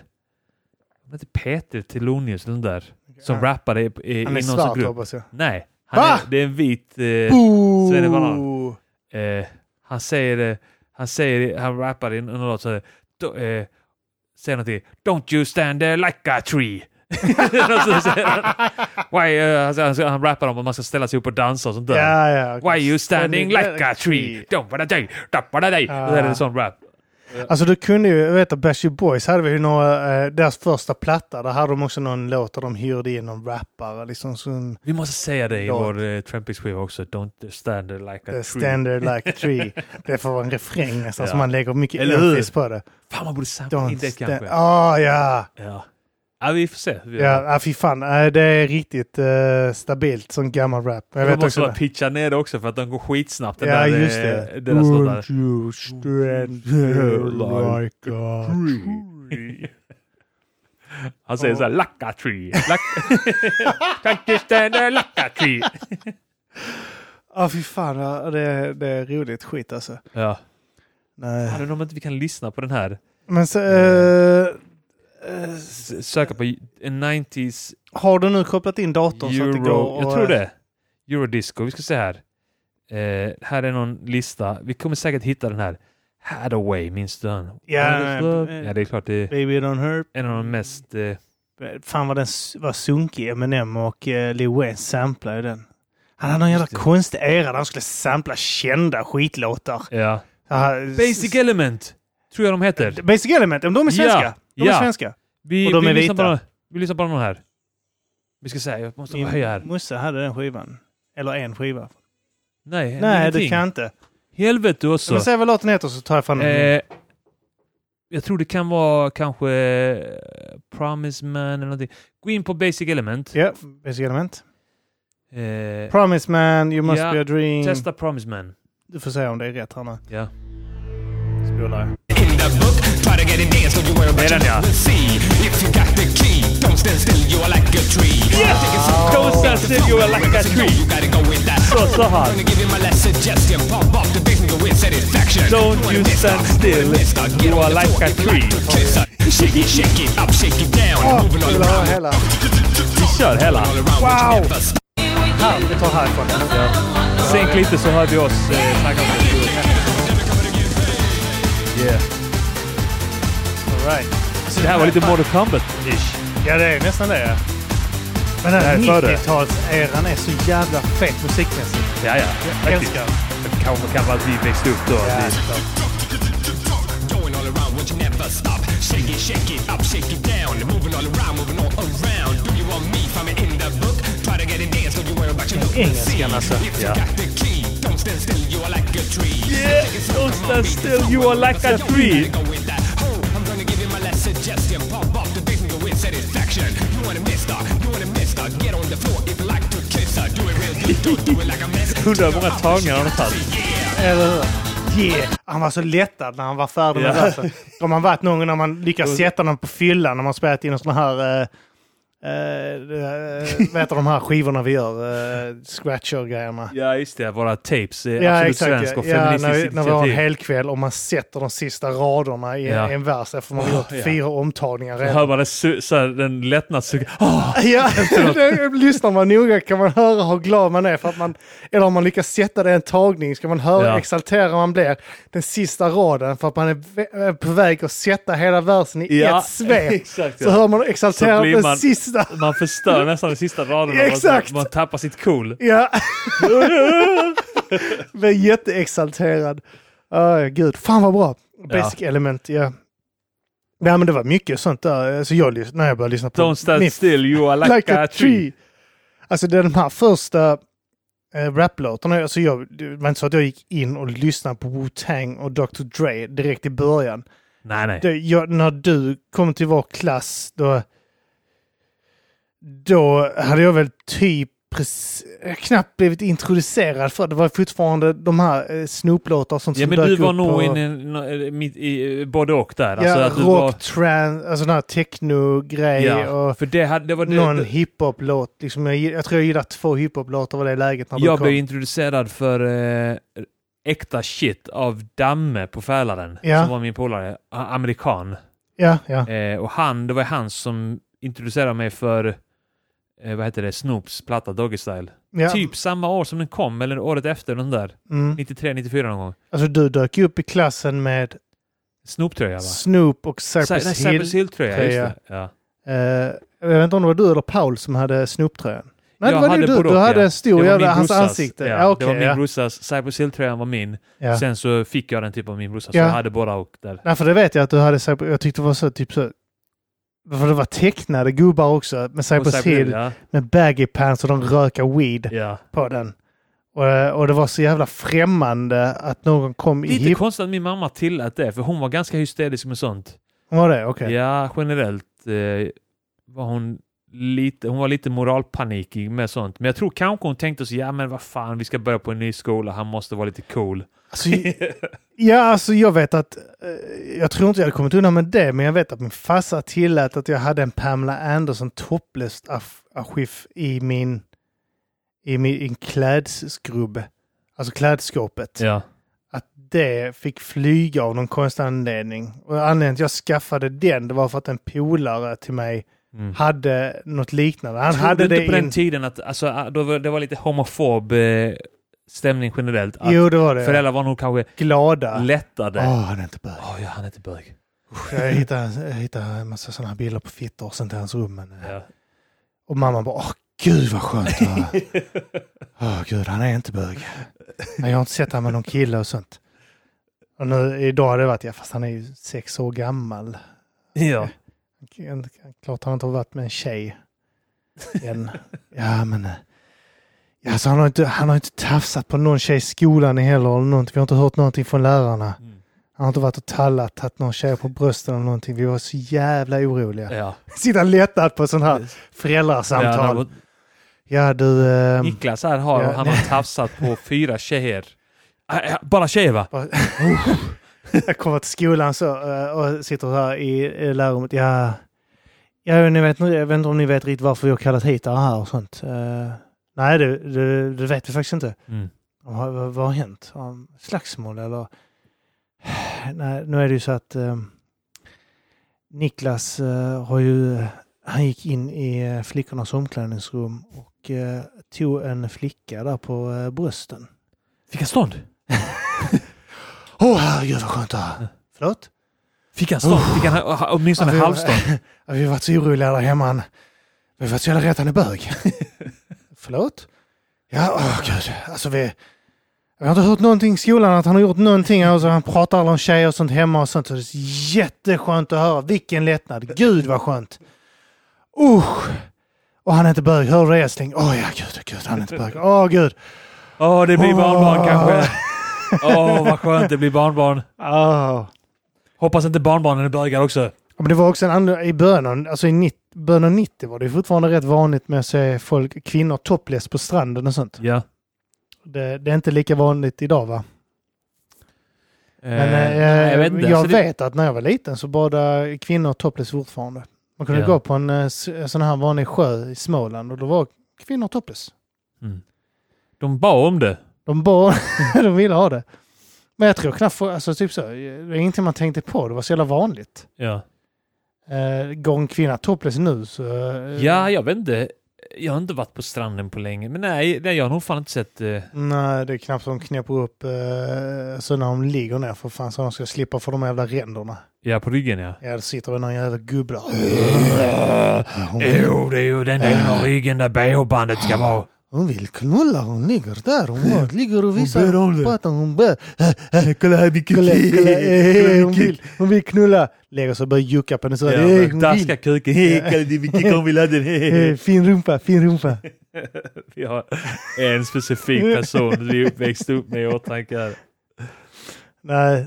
[SPEAKER 1] hon heter Peter Telonius eller sånt där. Som
[SPEAKER 2] Ja.
[SPEAKER 1] rappade i, i, i
[SPEAKER 2] Han är
[SPEAKER 1] någon
[SPEAKER 2] svart
[SPEAKER 1] sån grupp.
[SPEAKER 2] hoppas jag.
[SPEAKER 1] Nej,
[SPEAKER 2] Va?
[SPEAKER 1] han är, det är en vit... Eh, Svennebanan. Eh, han säger, eh, han säger, han rappar i en en låt så här, "Då, eh, säger någonting. Don't you stand there like a tree. Och så säger han, Why, eh, alltså, han- han rappar om att man ska ställa sig upp och dansa och sånt där.
[SPEAKER 2] Ja, ja. okej.
[SPEAKER 1] Why you standing like a tree? Don't wanna die, don't wanna die.
[SPEAKER 2] Ah.
[SPEAKER 1] Det är en sån rap.
[SPEAKER 2] Alltså du kunde ju, jag vet att Backstreet Boys hade vi ju några, eh, deras första platta, där hade de också någon låt där de hyrde in någon rappare liksom som
[SPEAKER 1] Vi måste säga det i
[SPEAKER 2] Låt.
[SPEAKER 1] vår eh, Trampix-skiva också. Don't stand there like a
[SPEAKER 2] eh,
[SPEAKER 1] tree.
[SPEAKER 2] Stand there like a tree. Det får vara en refräng nästan,
[SPEAKER 1] Ja.
[SPEAKER 2] så man lägger mycket
[SPEAKER 1] Eller hur?
[SPEAKER 2] emfis på det.
[SPEAKER 1] Fan, man borde samla in
[SPEAKER 2] Don't
[SPEAKER 1] det
[SPEAKER 2] stand...
[SPEAKER 1] kanske.
[SPEAKER 2] Ah, ja!
[SPEAKER 1] Ja. ja, vi får se. hur vi gör.
[SPEAKER 2] Ja, ah, fy fan. Eh, Det är riktigt eh, stabilt, som gammal rap.
[SPEAKER 1] Jag
[SPEAKER 2] Men Jag
[SPEAKER 1] de
[SPEAKER 2] vet
[SPEAKER 1] måste
[SPEAKER 2] också...
[SPEAKER 1] bara pitcha ner det också för att de går skitsnabbt. Den
[SPEAKER 2] ja,
[SPEAKER 1] där, eh,
[SPEAKER 2] just det.
[SPEAKER 1] Deras låtar.
[SPEAKER 2] Don't you stand there like a tree.
[SPEAKER 1] Han säger såhär lacka tree. Lack... Can't you stand there lacka tree.
[SPEAKER 2] Ja, Ah, fy fan. ja, Det, det är roligt skit alltså.
[SPEAKER 1] Ja.
[SPEAKER 2] Nej.
[SPEAKER 1] Jag undrar om inte vi kan lyssna på den här.
[SPEAKER 2] Men så, eh, eh,
[SPEAKER 1] S- Söka på en 90s
[SPEAKER 2] har du nu kopplat in datorn så att det går?
[SPEAKER 1] euro...
[SPEAKER 2] och,
[SPEAKER 1] Jag tror
[SPEAKER 2] eh,
[SPEAKER 1] det. Eurodisco. Vi ska se här. Eh, här är någon lista. Vi kommer säkert hitta den här. Hadaway, minns du den?
[SPEAKER 2] Ja, eh,
[SPEAKER 1] ja, det är klart. Det är
[SPEAKER 2] Baby Don't Hurt.
[SPEAKER 1] en av de mest... Eh,
[SPEAKER 2] Fan vad den s- var sunkig. Eminem och eh, Lil Wayne samplade ju den. Han hade någon jävla
[SPEAKER 1] Just det.
[SPEAKER 2] konstig era där han skulle sampla kända skitlåtar.
[SPEAKER 1] ja.
[SPEAKER 2] Ah,
[SPEAKER 1] Basic
[SPEAKER 2] s-
[SPEAKER 1] Element, tror jag de heter.
[SPEAKER 2] Basic Element, de är svenska.
[SPEAKER 1] Ja,
[SPEAKER 2] De är
[SPEAKER 1] ja.
[SPEAKER 2] svenska.
[SPEAKER 1] Vi,
[SPEAKER 2] Och de
[SPEAKER 1] vi
[SPEAKER 2] är
[SPEAKER 1] lyssnar
[SPEAKER 2] vita.
[SPEAKER 1] Bara, vi lyssnar bara på de här. Vi ska säga, jag måste bara höja här.
[SPEAKER 2] Musse hade den skivan. Eller en skiva.
[SPEAKER 1] Nej,
[SPEAKER 2] Nej,
[SPEAKER 1] ingenting.
[SPEAKER 2] du kan inte.
[SPEAKER 1] Helvete också.
[SPEAKER 2] Men säg vad låten heter så tar jag fram den.
[SPEAKER 1] eh, jag tror det kan vara kanske eh, Promise Man eller någonting. Gå in på Basic Element.
[SPEAKER 2] Ja, Basic Element.
[SPEAKER 1] Eh,
[SPEAKER 2] Promise Man, You Must
[SPEAKER 1] Ja,
[SPEAKER 2] Be A Dream.
[SPEAKER 1] testa Promise Man.
[SPEAKER 2] Du får se om det är rätt här nu.
[SPEAKER 1] Ja.
[SPEAKER 2] Spolar
[SPEAKER 4] in the book. Try to get it in, so you worry about
[SPEAKER 1] Medan
[SPEAKER 4] you
[SPEAKER 1] jag-
[SPEAKER 4] will see. If you got the key, don't stand still, you are like a tree.
[SPEAKER 1] Don't stand still, you are like a tree.
[SPEAKER 4] You gotta go with that.
[SPEAKER 1] Så, så här.
[SPEAKER 4] Gonna give you my last suggestion. Pop off the basement with satisfaction.
[SPEAKER 1] Don't you
[SPEAKER 4] miss
[SPEAKER 1] stand
[SPEAKER 4] out,
[SPEAKER 1] still,
[SPEAKER 4] wanna miss out. Get
[SPEAKER 1] you
[SPEAKER 4] on
[SPEAKER 1] are
[SPEAKER 4] the
[SPEAKER 1] like
[SPEAKER 4] floor
[SPEAKER 1] a
[SPEAKER 4] if you
[SPEAKER 1] tree. Oh,
[SPEAKER 4] like to kiss her. Shake it, shake it up, shake it down. Moving all
[SPEAKER 2] ha
[SPEAKER 4] around,
[SPEAKER 2] hela.
[SPEAKER 1] Vi kör hela.
[SPEAKER 4] all around.
[SPEAKER 2] Wow!
[SPEAKER 4] What you never
[SPEAKER 2] Här, vi tar härifrån.
[SPEAKER 1] Sänk lite så hör vi oss eh, snacka om det. Yeah.
[SPEAKER 2] All right.
[SPEAKER 1] Det här var lite Mortal Kombat-ish.
[SPEAKER 2] Ja, det är nästan det. ja. Men den
[SPEAKER 1] här
[SPEAKER 2] här
[SPEAKER 1] är före.
[SPEAKER 2] 90-talseran är så jävla fet musikmässigt.
[SPEAKER 1] Ja, ja.
[SPEAKER 2] Jag
[SPEAKER 1] Faktiskt.
[SPEAKER 2] älskar den.
[SPEAKER 1] Det kanske kan vara att vi växte upp då.
[SPEAKER 2] Ja,
[SPEAKER 1] Vi-
[SPEAKER 2] såklart.
[SPEAKER 4] Going all around, what you never stop. Shake it, shake it up, shake it down. Moving all around, moving all around. Do you want me? Find me in the book. Try to get it dance, don't you worry about your look and see.
[SPEAKER 2] Engelskan alltså.
[SPEAKER 4] If you got the key, don't stand still, you are like a tree.
[SPEAKER 1] Yeah, don't stand still, you are like a tree.
[SPEAKER 4] Go with that. Oh, I'm gonna give you my last suggestion. Pop off the bass and go with satisfaction. You wanna miss that, you wanna miss that. Get on the floor if you like to kiss her. Do it real good, do, do it like a mess.
[SPEAKER 1] Undrar hur många tagningar han har tagit.
[SPEAKER 2] Eller hur? Yeah. Han var så lättad när han var färdig med
[SPEAKER 1] Ja. Mm.
[SPEAKER 2] versen. Om man varit någon gång när man lyckas sätta någon på fyllan när man spelat in en sån här... Eh, eh, vad heter de här skivorna vi gör? Eh, Scratcher-grejerna.
[SPEAKER 1] Ja, just det. Våra tapes. är absolut svensk och
[SPEAKER 2] ja,
[SPEAKER 1] feministiskt
[SPEAKER 2] när, när vi har en
[SPEAKER 1] initiativ.
[SPEAKER 2] helkväll och man sätter de sista raderna i
[SPEAKER 1] Ja.
[SPEAKER 2] en, en vers efter man har gjort
[SPEAKER 1] Oh, ja.
[SPEAKER 2] fyra omtagningar
[SPEAKER 1] Jag
[SPEAKER 2] redan.
[SPEAKER 1] hör bara det su- så här, den lättnadssug... Åh!
[SPEAKER 2] Ja, det- lyssnar man noga kan man höra hur glad man är för att man, eller om man lyckas sätta det i en tagning, ska man höra
[SPEAKER 1] Ja.
[SPEAKER 2] hur exalterad man blir den sista raden för att man är vä- på väg att sätta hela versen i
[SPEAKER 1] Ja,
[SPEAKER 2] ett svep.
[SPEAKER 1] exakt,
[SPEAKER 2] Så
[SPEAKER 1] ja.
[SPEAKER 2] hör man hur exalterad
[SPEAKER 1] Så blir
[SPEAKER 2] den
[SPEAKER 1] man-
[SPEAKER 2] sista.
[SPEAKER 1] Man förstör nästan de sista raderna.
[SPEAKER 2] Exakt.
[SPEAKER 1] Man, man tappar sitt cool.
[SPEAKER 2] Ja. Blir jätteexalterad. Oh, gud, fan vad bra. Basic element, ja. Nej men det var mycket sånt där. Så jag, lys- när jag började lyssna på
[SPEAKER 1] Don't stand
[SPEAKER 2] min
[SPEAKER 1] still, you are like,
[SPEAKER 2] like
[SPEAKER 1] a,
[SPEAKER 2] a tree. Alltså de här första äh, raplåtarna, alltså jag, det var inte så att jag gick in och lyssnade på Wu-Tang och Dr. Dre direkt i början.
[SPEAKER 1] Nej, nej.
[SPEAKER 2] Det, jag, när du kom till vår klass, då, då hade jag väl typ precis- jag knappt blivit introducerad för det var fortfarande de här eh, Snoop-låtar och sånt
[SPEAKER 1] Ja,
[SPEAKER 2] som
[SPEAKER 1] men du
[SPEAKER 2] dök
[SPEAKER 1] var
[SPEAKER 2] upp
[SPEAKER 1] nog
[SPEAKER 2] och-
[SPEAKER 1] inne i nå- eh, mitt i eh, både och där.
[SPEAKER 2] Ja,
[SPEAKER 1] Alltså att du
[SPEAKER 2] rock,
[SPEAKER 1] var,
[SPEAKER 2] trans, alltså den här techno-grej och
[SPEAKER 1] ja, för det, hade, det var det,
[SPEAKER 2] någon
[SPEAKER 1] det-
[SPEAKER 2] hiphop-låt. Liksom, jag, jag tror jag gillar två hiphop-låtar var det läget när du
[SPEAKER 1] Jag
[SPEAKER 2] kom.
[SPEAKER 1] blev introducerad för eh, äkta shit av Damme på Fälaren,
[SPEAKER 2] Ja.
[SPEAKER 1] som var min polare, a- amerikan.
[SPEAKER 2] Ja, ja.
[SPEAKER 1] Eh, och han, det var han som introducerade mig för, eh, vad heter det, Snoops platta Doggy Style.
[SPEAKER 2] ja.
[SPEAKER 1] Typ samma år som den kom, eller året efter, den där.
[SPEAKER 2] Mm.
[SPEAKER 1] 93, 94 någon gång.
[SPEAKER 2] Alltså du dök ju upp i klassen med
[SPEAKER 1] Snoop-tröja va?
[SPEAKER 2] Snoop och Cypress
[SPEAKER 1] Cy- nej,
[SPEAKER 2] Hill.
[SPEAKER 1] Cypress Hill-tröja, just
[SPEAKER 2] tröja.
[SPEAKER 1] det. Ja.
[SPEAKER 2] Eh, jag vet inte om det var du eller Paul som hade Snoop-tröjan. Nej,
[SPEAKER 1] Jag
[SPEAKER 2] det var
[SPEAKER 1] hade
[SPEAKER 2] ju du.
[SPEAKER 1] både
[SPEAKER 2] Du
[SPEAKER 1] och,
[SPEAKER 2] hade
[SPEAKER 1] ja.
[SPEAKER 2] en stor
[SPEAKER 1] Det var
[SPEAKER 2] jävla,
[SPEAKER 1] min
[SPEAKER 2] hans
[SPEAKER 1] brorsas.
[SPEAKER 2] alltså ansikte.
[SPEAKER 1] Ja,
[SPEAKER 2] Ja, okej.
[SPEAKER 1] det var min
[SPEAKER 2] ja.
[SPEAKER 1] brorsas. Cypress Hill-tröjan var min.
[SPEAKER 2] Ja.
[SPEAKER 1] Sen så fick jag den typ av min brorsa, så
[SPEAKER 2] Ja.
[SPEAKER 1] jag hade båda och där.
[SPEAKER 2] Nej, för det vet jag att du hade. Cypress- Jag tyckte det var så, typ så. För det var tecknade gubbar också med
[SPEAKER 1] Och
[SPEAKER 2] Cypress Hill,
[SPEAKER 1] Ja,
[SPEAKER 2] med baggy pants och de rökar weed
[SPEAKER 1] ja.
[SPEAKER 2] på den. Och, och det var så jävla främmande att någon kom i
[SPEAKER 1] Lite
[SPEAKER 2] hip...
[SPEAKER 1] konstigt att min mamma tillät det, för hon var ganska hysterisk med sånt.
[SPEAKER 2] Var det? Okej.
[SPEAKER 1] Ja, generellt eh, var hon lite, hon var lite moralpanikig med sånt. Men jag tror kanske hon tänkte så, ja men vad fan, vi ska börja på en ny skola, han måste vara lite cool.
[SPEAKER 2] Alltså, ja, alltså jag vet att... eh, Jag tror inte jag hade kommit undan med det, men jag vet att min farsa tillät att jag hade en Pamela Anderson topless aff- affisch i min... I min i en klädsskrubb. Alltså klädskåpet.
[SPEAKER 1] Ja.
[SPEAKER 2] Att det fick flyga av någon konstig anledning. Och anledningen till att jag skaffade den, det var för att en polare till mig
[SPEAKER 1] Mm.
[SPEAKER 2] hade något liknande. Han
[SPEAKER 1] Trodde
[SPEAKER 2] hade
[SPEAKER 1] inte
[SPEAKER 2] det
[SPEAKER 1] på den
[SPEAKER 2] in...
[SPEAKER 1] tiden att, alltså, då var, det var lite homofob eh, stämning generellt. Att
[SPEAKER 2] Jo, det var det. Ah.
[SPEAKER 1] föräldrar var nog kanske
[SPEAKER 2] Glada.
[SPEAKER 1] lättade.
[SPEAKER 2] Åh,
[SPEAKER 1] Åh,
[SPEAKER 2] han är inte bög.
[SPEAKER 1] ja, han är inte bög.
[SPEAKER 2] Jag hittade, jag hittade en massa sådana här bilder på fittor och sånt i hans rum. Men, eh,
[SPEAKER 1] Ja.
[SPEAKER 2] Och mamma bara, åh gud vad skönt att höra. Åh gud, han är inte bög. Nej, jag har inte sett honom med någon kille och sånt. Och nu idag har det varit, ja fast han är ju sex år gammal.
[SPEAKER 1] ja.
[SPEAKER 2] En- Klart han inte har varit med en tjej. Än. Ja men. eh, Ja, så han, har inte, han har inte tafsat på någon tjej i skolan heller. Eller någonting. Vi har inte hört någonting från lärarna.
[SPEAKER 1] Mm.
[SPEAKER 2] Han har inte varit och tallat, tagit någon tjej på brösten eller någonting. Vi var så jävla oroliga.
[SPEAKER 1] ja.
[SPEAKER 2] Sitta lättad på sån här
[SPEAKER 1] Ja,
[SPEAKER 2] föräldrasamtal.
[SPEAKER 1] när-
[SPEAKER 2] Ja, du... ehm,
[SPEAKER 1] Niklas här har,
[SPEAKER 2] Mm. Ja,
[SPEAKER 1] han
[SPEAKER 2] nej.
[SPEAKER 1] har tafsat på fyra tjejer. Ah, ja, Bara tjejer va?
[SPEAKER 2] bara- jag kommer till skolan så eh, och sitter här i eh, lärarrummet. Ja, ja ni vet, jag vet inte om ni vet riktigt varför vi har kallat hit er här och sånt. Eh, nej, det, det, det vet vi faktiskt inte.
[SPEAKER 1] Mm.
[SPEAKER 2] Vad, vad, vad har hänt? Om slagsmål eller? Nej, nu är det ju så att eh, Niklas eh, har ju, han gick in i eh, flickornas omklädningsrum och eh, tog en flicka där på eh, brösten.
[SPEAKER 1] Fick han stånd?
[SPEAKER 2] Åh herregud vad skönt det här. Förlåt?
[SPEAKER 1] Fick han stånd? Fick han ha- åtminstone
[SPEAKER 2] Ja, vi-
[SPEAKER 1] halvstånd?
[SPEAKER 2] Ja, Vi har varit så oroliga där hemma. Han- Vi har varit så jävla rädda, han är bög. Förlåt? Ja, åh gud. Alltså vi... Jag har inte hört någonting i skolan att han har gjort någonting. Alltså, han pratar alla om tjejer och sånt hemma och sånt. Så det är jätteskönt att höra. Vilken lättnad. Gud vad skönt. Usch! Och han är inte bög. Hör du det älskling? Åh ja, gud, gud. Han är inte bög. Åh gud.
[SPEAKER 1] Åh, det blir
[SPEAKER 2] Åh.
[SPEAKER 1] barnbarn kanske. Åh, vad skönt det blir barnbarn.
[SPEAKER 2] Åh.
[SPEAKER 1] Hoppas inte barnbarnen är bögar också.
[SPEAKER 2] Ja, men det var också en annan, i början, av- alltså i nitt, början av 90 var det ju fortfarande rätt vanligt med att se folk, kvinnor topless på stranden och sånt.
[SPEAKER 1] Ja.
[SPEAKER 2] Det, det är inte lika vanligt idag va? Men
[SPEAKER 1] Eh,
[SPEAKER 2] eh,
[SPEAKER 1] nej, jag vet inte. Alltså, det-
[SPEAKER 2] att när jag var liten så badade kvinnor topless fortfarande. Man kunde
[SPEAKER 1] Ja.
[SPEAKER 2] gå på en eh, s- sån här vanlig sjö i Småland och då var kvinnor topless.
[SPEAKER 1] De bad om det.
[SPEAKER 2] De bad, de ville ha det. Men jag tror knappt, alltså typ så, det var ingenting man tänkte på, det var så jävla vanligt.
[SPEAKER 1] Ja.
[SPEAKER 2] Eh, går en kvinna topless nu så... eh,
[SPEAKER 1] ja, jag vet inte. Jag har inte varit på stranden på länge. Men nej, nej jag har nog fan inte sett... eh,
[SPEAKER 2] Nej, det är knappt de knäpper upp eh, så när de ligger ner för fan så de ska slippa få de jävla ränderna.
[SPEAKER 1] ja, på ryggen ja.
[SPEAKER 2] Ja, det sitter väl någon jävla gubbe där.
[SPEAKER 1] Jo, det är ju den delen
[SPEAKER 2] Eh.
[SPEAKER 1] av ryggen där bh-bandet ska vara.
[SPEAKER 2] Hon vill knulla, hon ligger där. Hon bara ligger och
[SPEAKER 5] ber om
[SPEAKER 2] visar
[SPEAKER 5] det.
[SPEAKER 2] på att hon ber.
[SPEAKER 5] Kolla här min
[SPEAKER 2] Eh, Kolla,
[SPEAKER 5] kuki.
[SPEAKER 2] kolla, eh, hon,
[SPEAKER 5] Kolla min
[SPEAKER 2] vill, hon vill knulla. Lägger sig och börjar jucka på henne. Så, eh,
[SPEAKER 1] Ja,
[SPEAKER 2] hon
[SPEAKER 1] daska
[SPEAKER 2] vill.
[SPEAKER 1] kuken. Eh,
[SPEAKER 5] kuk. Kolla det är min kuk, hon vill ha den.
[SPEAKER 2] Eh, fin rumpa, fin rumpa.
[SPEAKER 1] Vi har en specifik person vi växte upp med i åtanke här.
[SPEAKER 2] nej,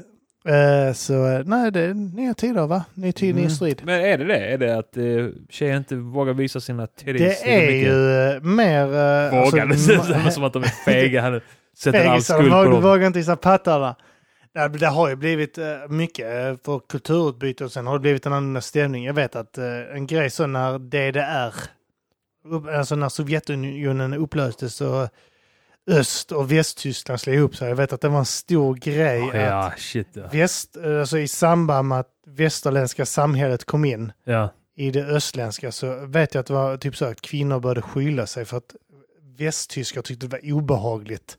[SPEAKER 2] eh, så eh, nej, det är nya tider va? Ny tid, ny
[SPEAKER 1] Mm.
[SPEAKER 2] strid.
[SPEAKER 1] Men är det det? Är det att eh, tjejer inte vågar visa sina titties?
[SPEAKER 2] Det är
[SPEAKER 1] mycket
[SPEAKER 2] ju eh, mer... eh,
[SPEAKER 1] Vågar? Det känns
[SPEAKER 2] ma-
[SPEAKER 1] som att de är fega. Han sätter all
[SPEAKER 2] Fegisar,
[SPEAKER 1] skuld
[SPEAKER 2] de
[SPEAKER 1] på
[SPEAKER 2] vågar, de
[SPEAKER 1] dem.
[SPEAKER 2] vågar inte visa pattarna. Det, det har ju blivit eh, mycket eh, för kulturutbyte och sen har det blivit en annan stämning. Jag vet att eh, en grej så när DDR, upp, alltså när Sovjetunionen upplöstes och Öst och Västtyskland slog ihop sig. Jag vet att det var en stor grej att
[SPEAKER 1] Ja, shit ja.
[SPEAKER 2] väst, eh, alltså i samband med att västerländska samhället kom in
[SPEAKER 1] ja.
[SPEAKER 2] i det östländska så vet jag att det var typ så att kvinnor började skylla sig för att västtyskar tyckte det var obehagligt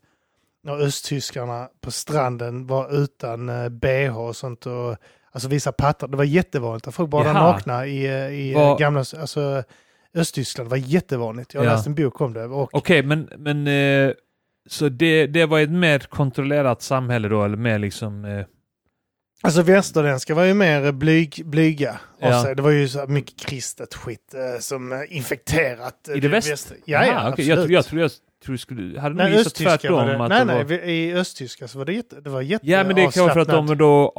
[SPEAKER 2] när östtyskarna på stranden var utan eh, bh och sånt och alltså visa pattar. Det var jättevanligt att folk badade
[SPEAKER 1] Jaha.
[SPEAKER 2] nakna i, eh, i
[SPEAKER 1] Vad-
[SPEAKER 2] Var... gamla alltså, Östtyskland. Det var jättevanligt. Jag har
[SPEAKER 1] Ja.
[SPEAKER 2] läst en bok om det. Och,
[SPEAKER 1] Okej, men, men eh, så det, det var ett mer kontrollerat samhälle då, eller mer liksom... Eh,
[SPEAKER 2] Alltså västerländska var ju mer blyg, blyga av
[SPEAKER 1] Ja.
[SPEAKER 2] sig. Det var ju så här mycket kristet skit eh, som eh, infekterat. eh,
[SPEAKER 1] I det väst-
[SPEAKER 2] Ja, ja,
[SPEAKER 1] Aha, okej,
[SPEAKER 2] absolut.
[SPEAKER 1] jag, jag tror jag tror du skulle... Hade nog
[SPEAKER 2] Nej,
[SPEAKER 1] gissat
[SPEAKER 2] östtyska var
[SPEAKER 1] tvärtom.
[SPEAKER 2] det.
[SPEAKER 1] att
[SPEAKER 2] Nej,
[SPEAKER 1] det
[SPEAKER 2] nej,
[SPEAKER 1] var,
[SPEAKER 2] vi- i östtyska så var det jätte, det var jätte
[SPEAKER 1] Ja, men det kan vara för att de
[SPEAKER 2] avslappnat.
[SPEAKER 1] då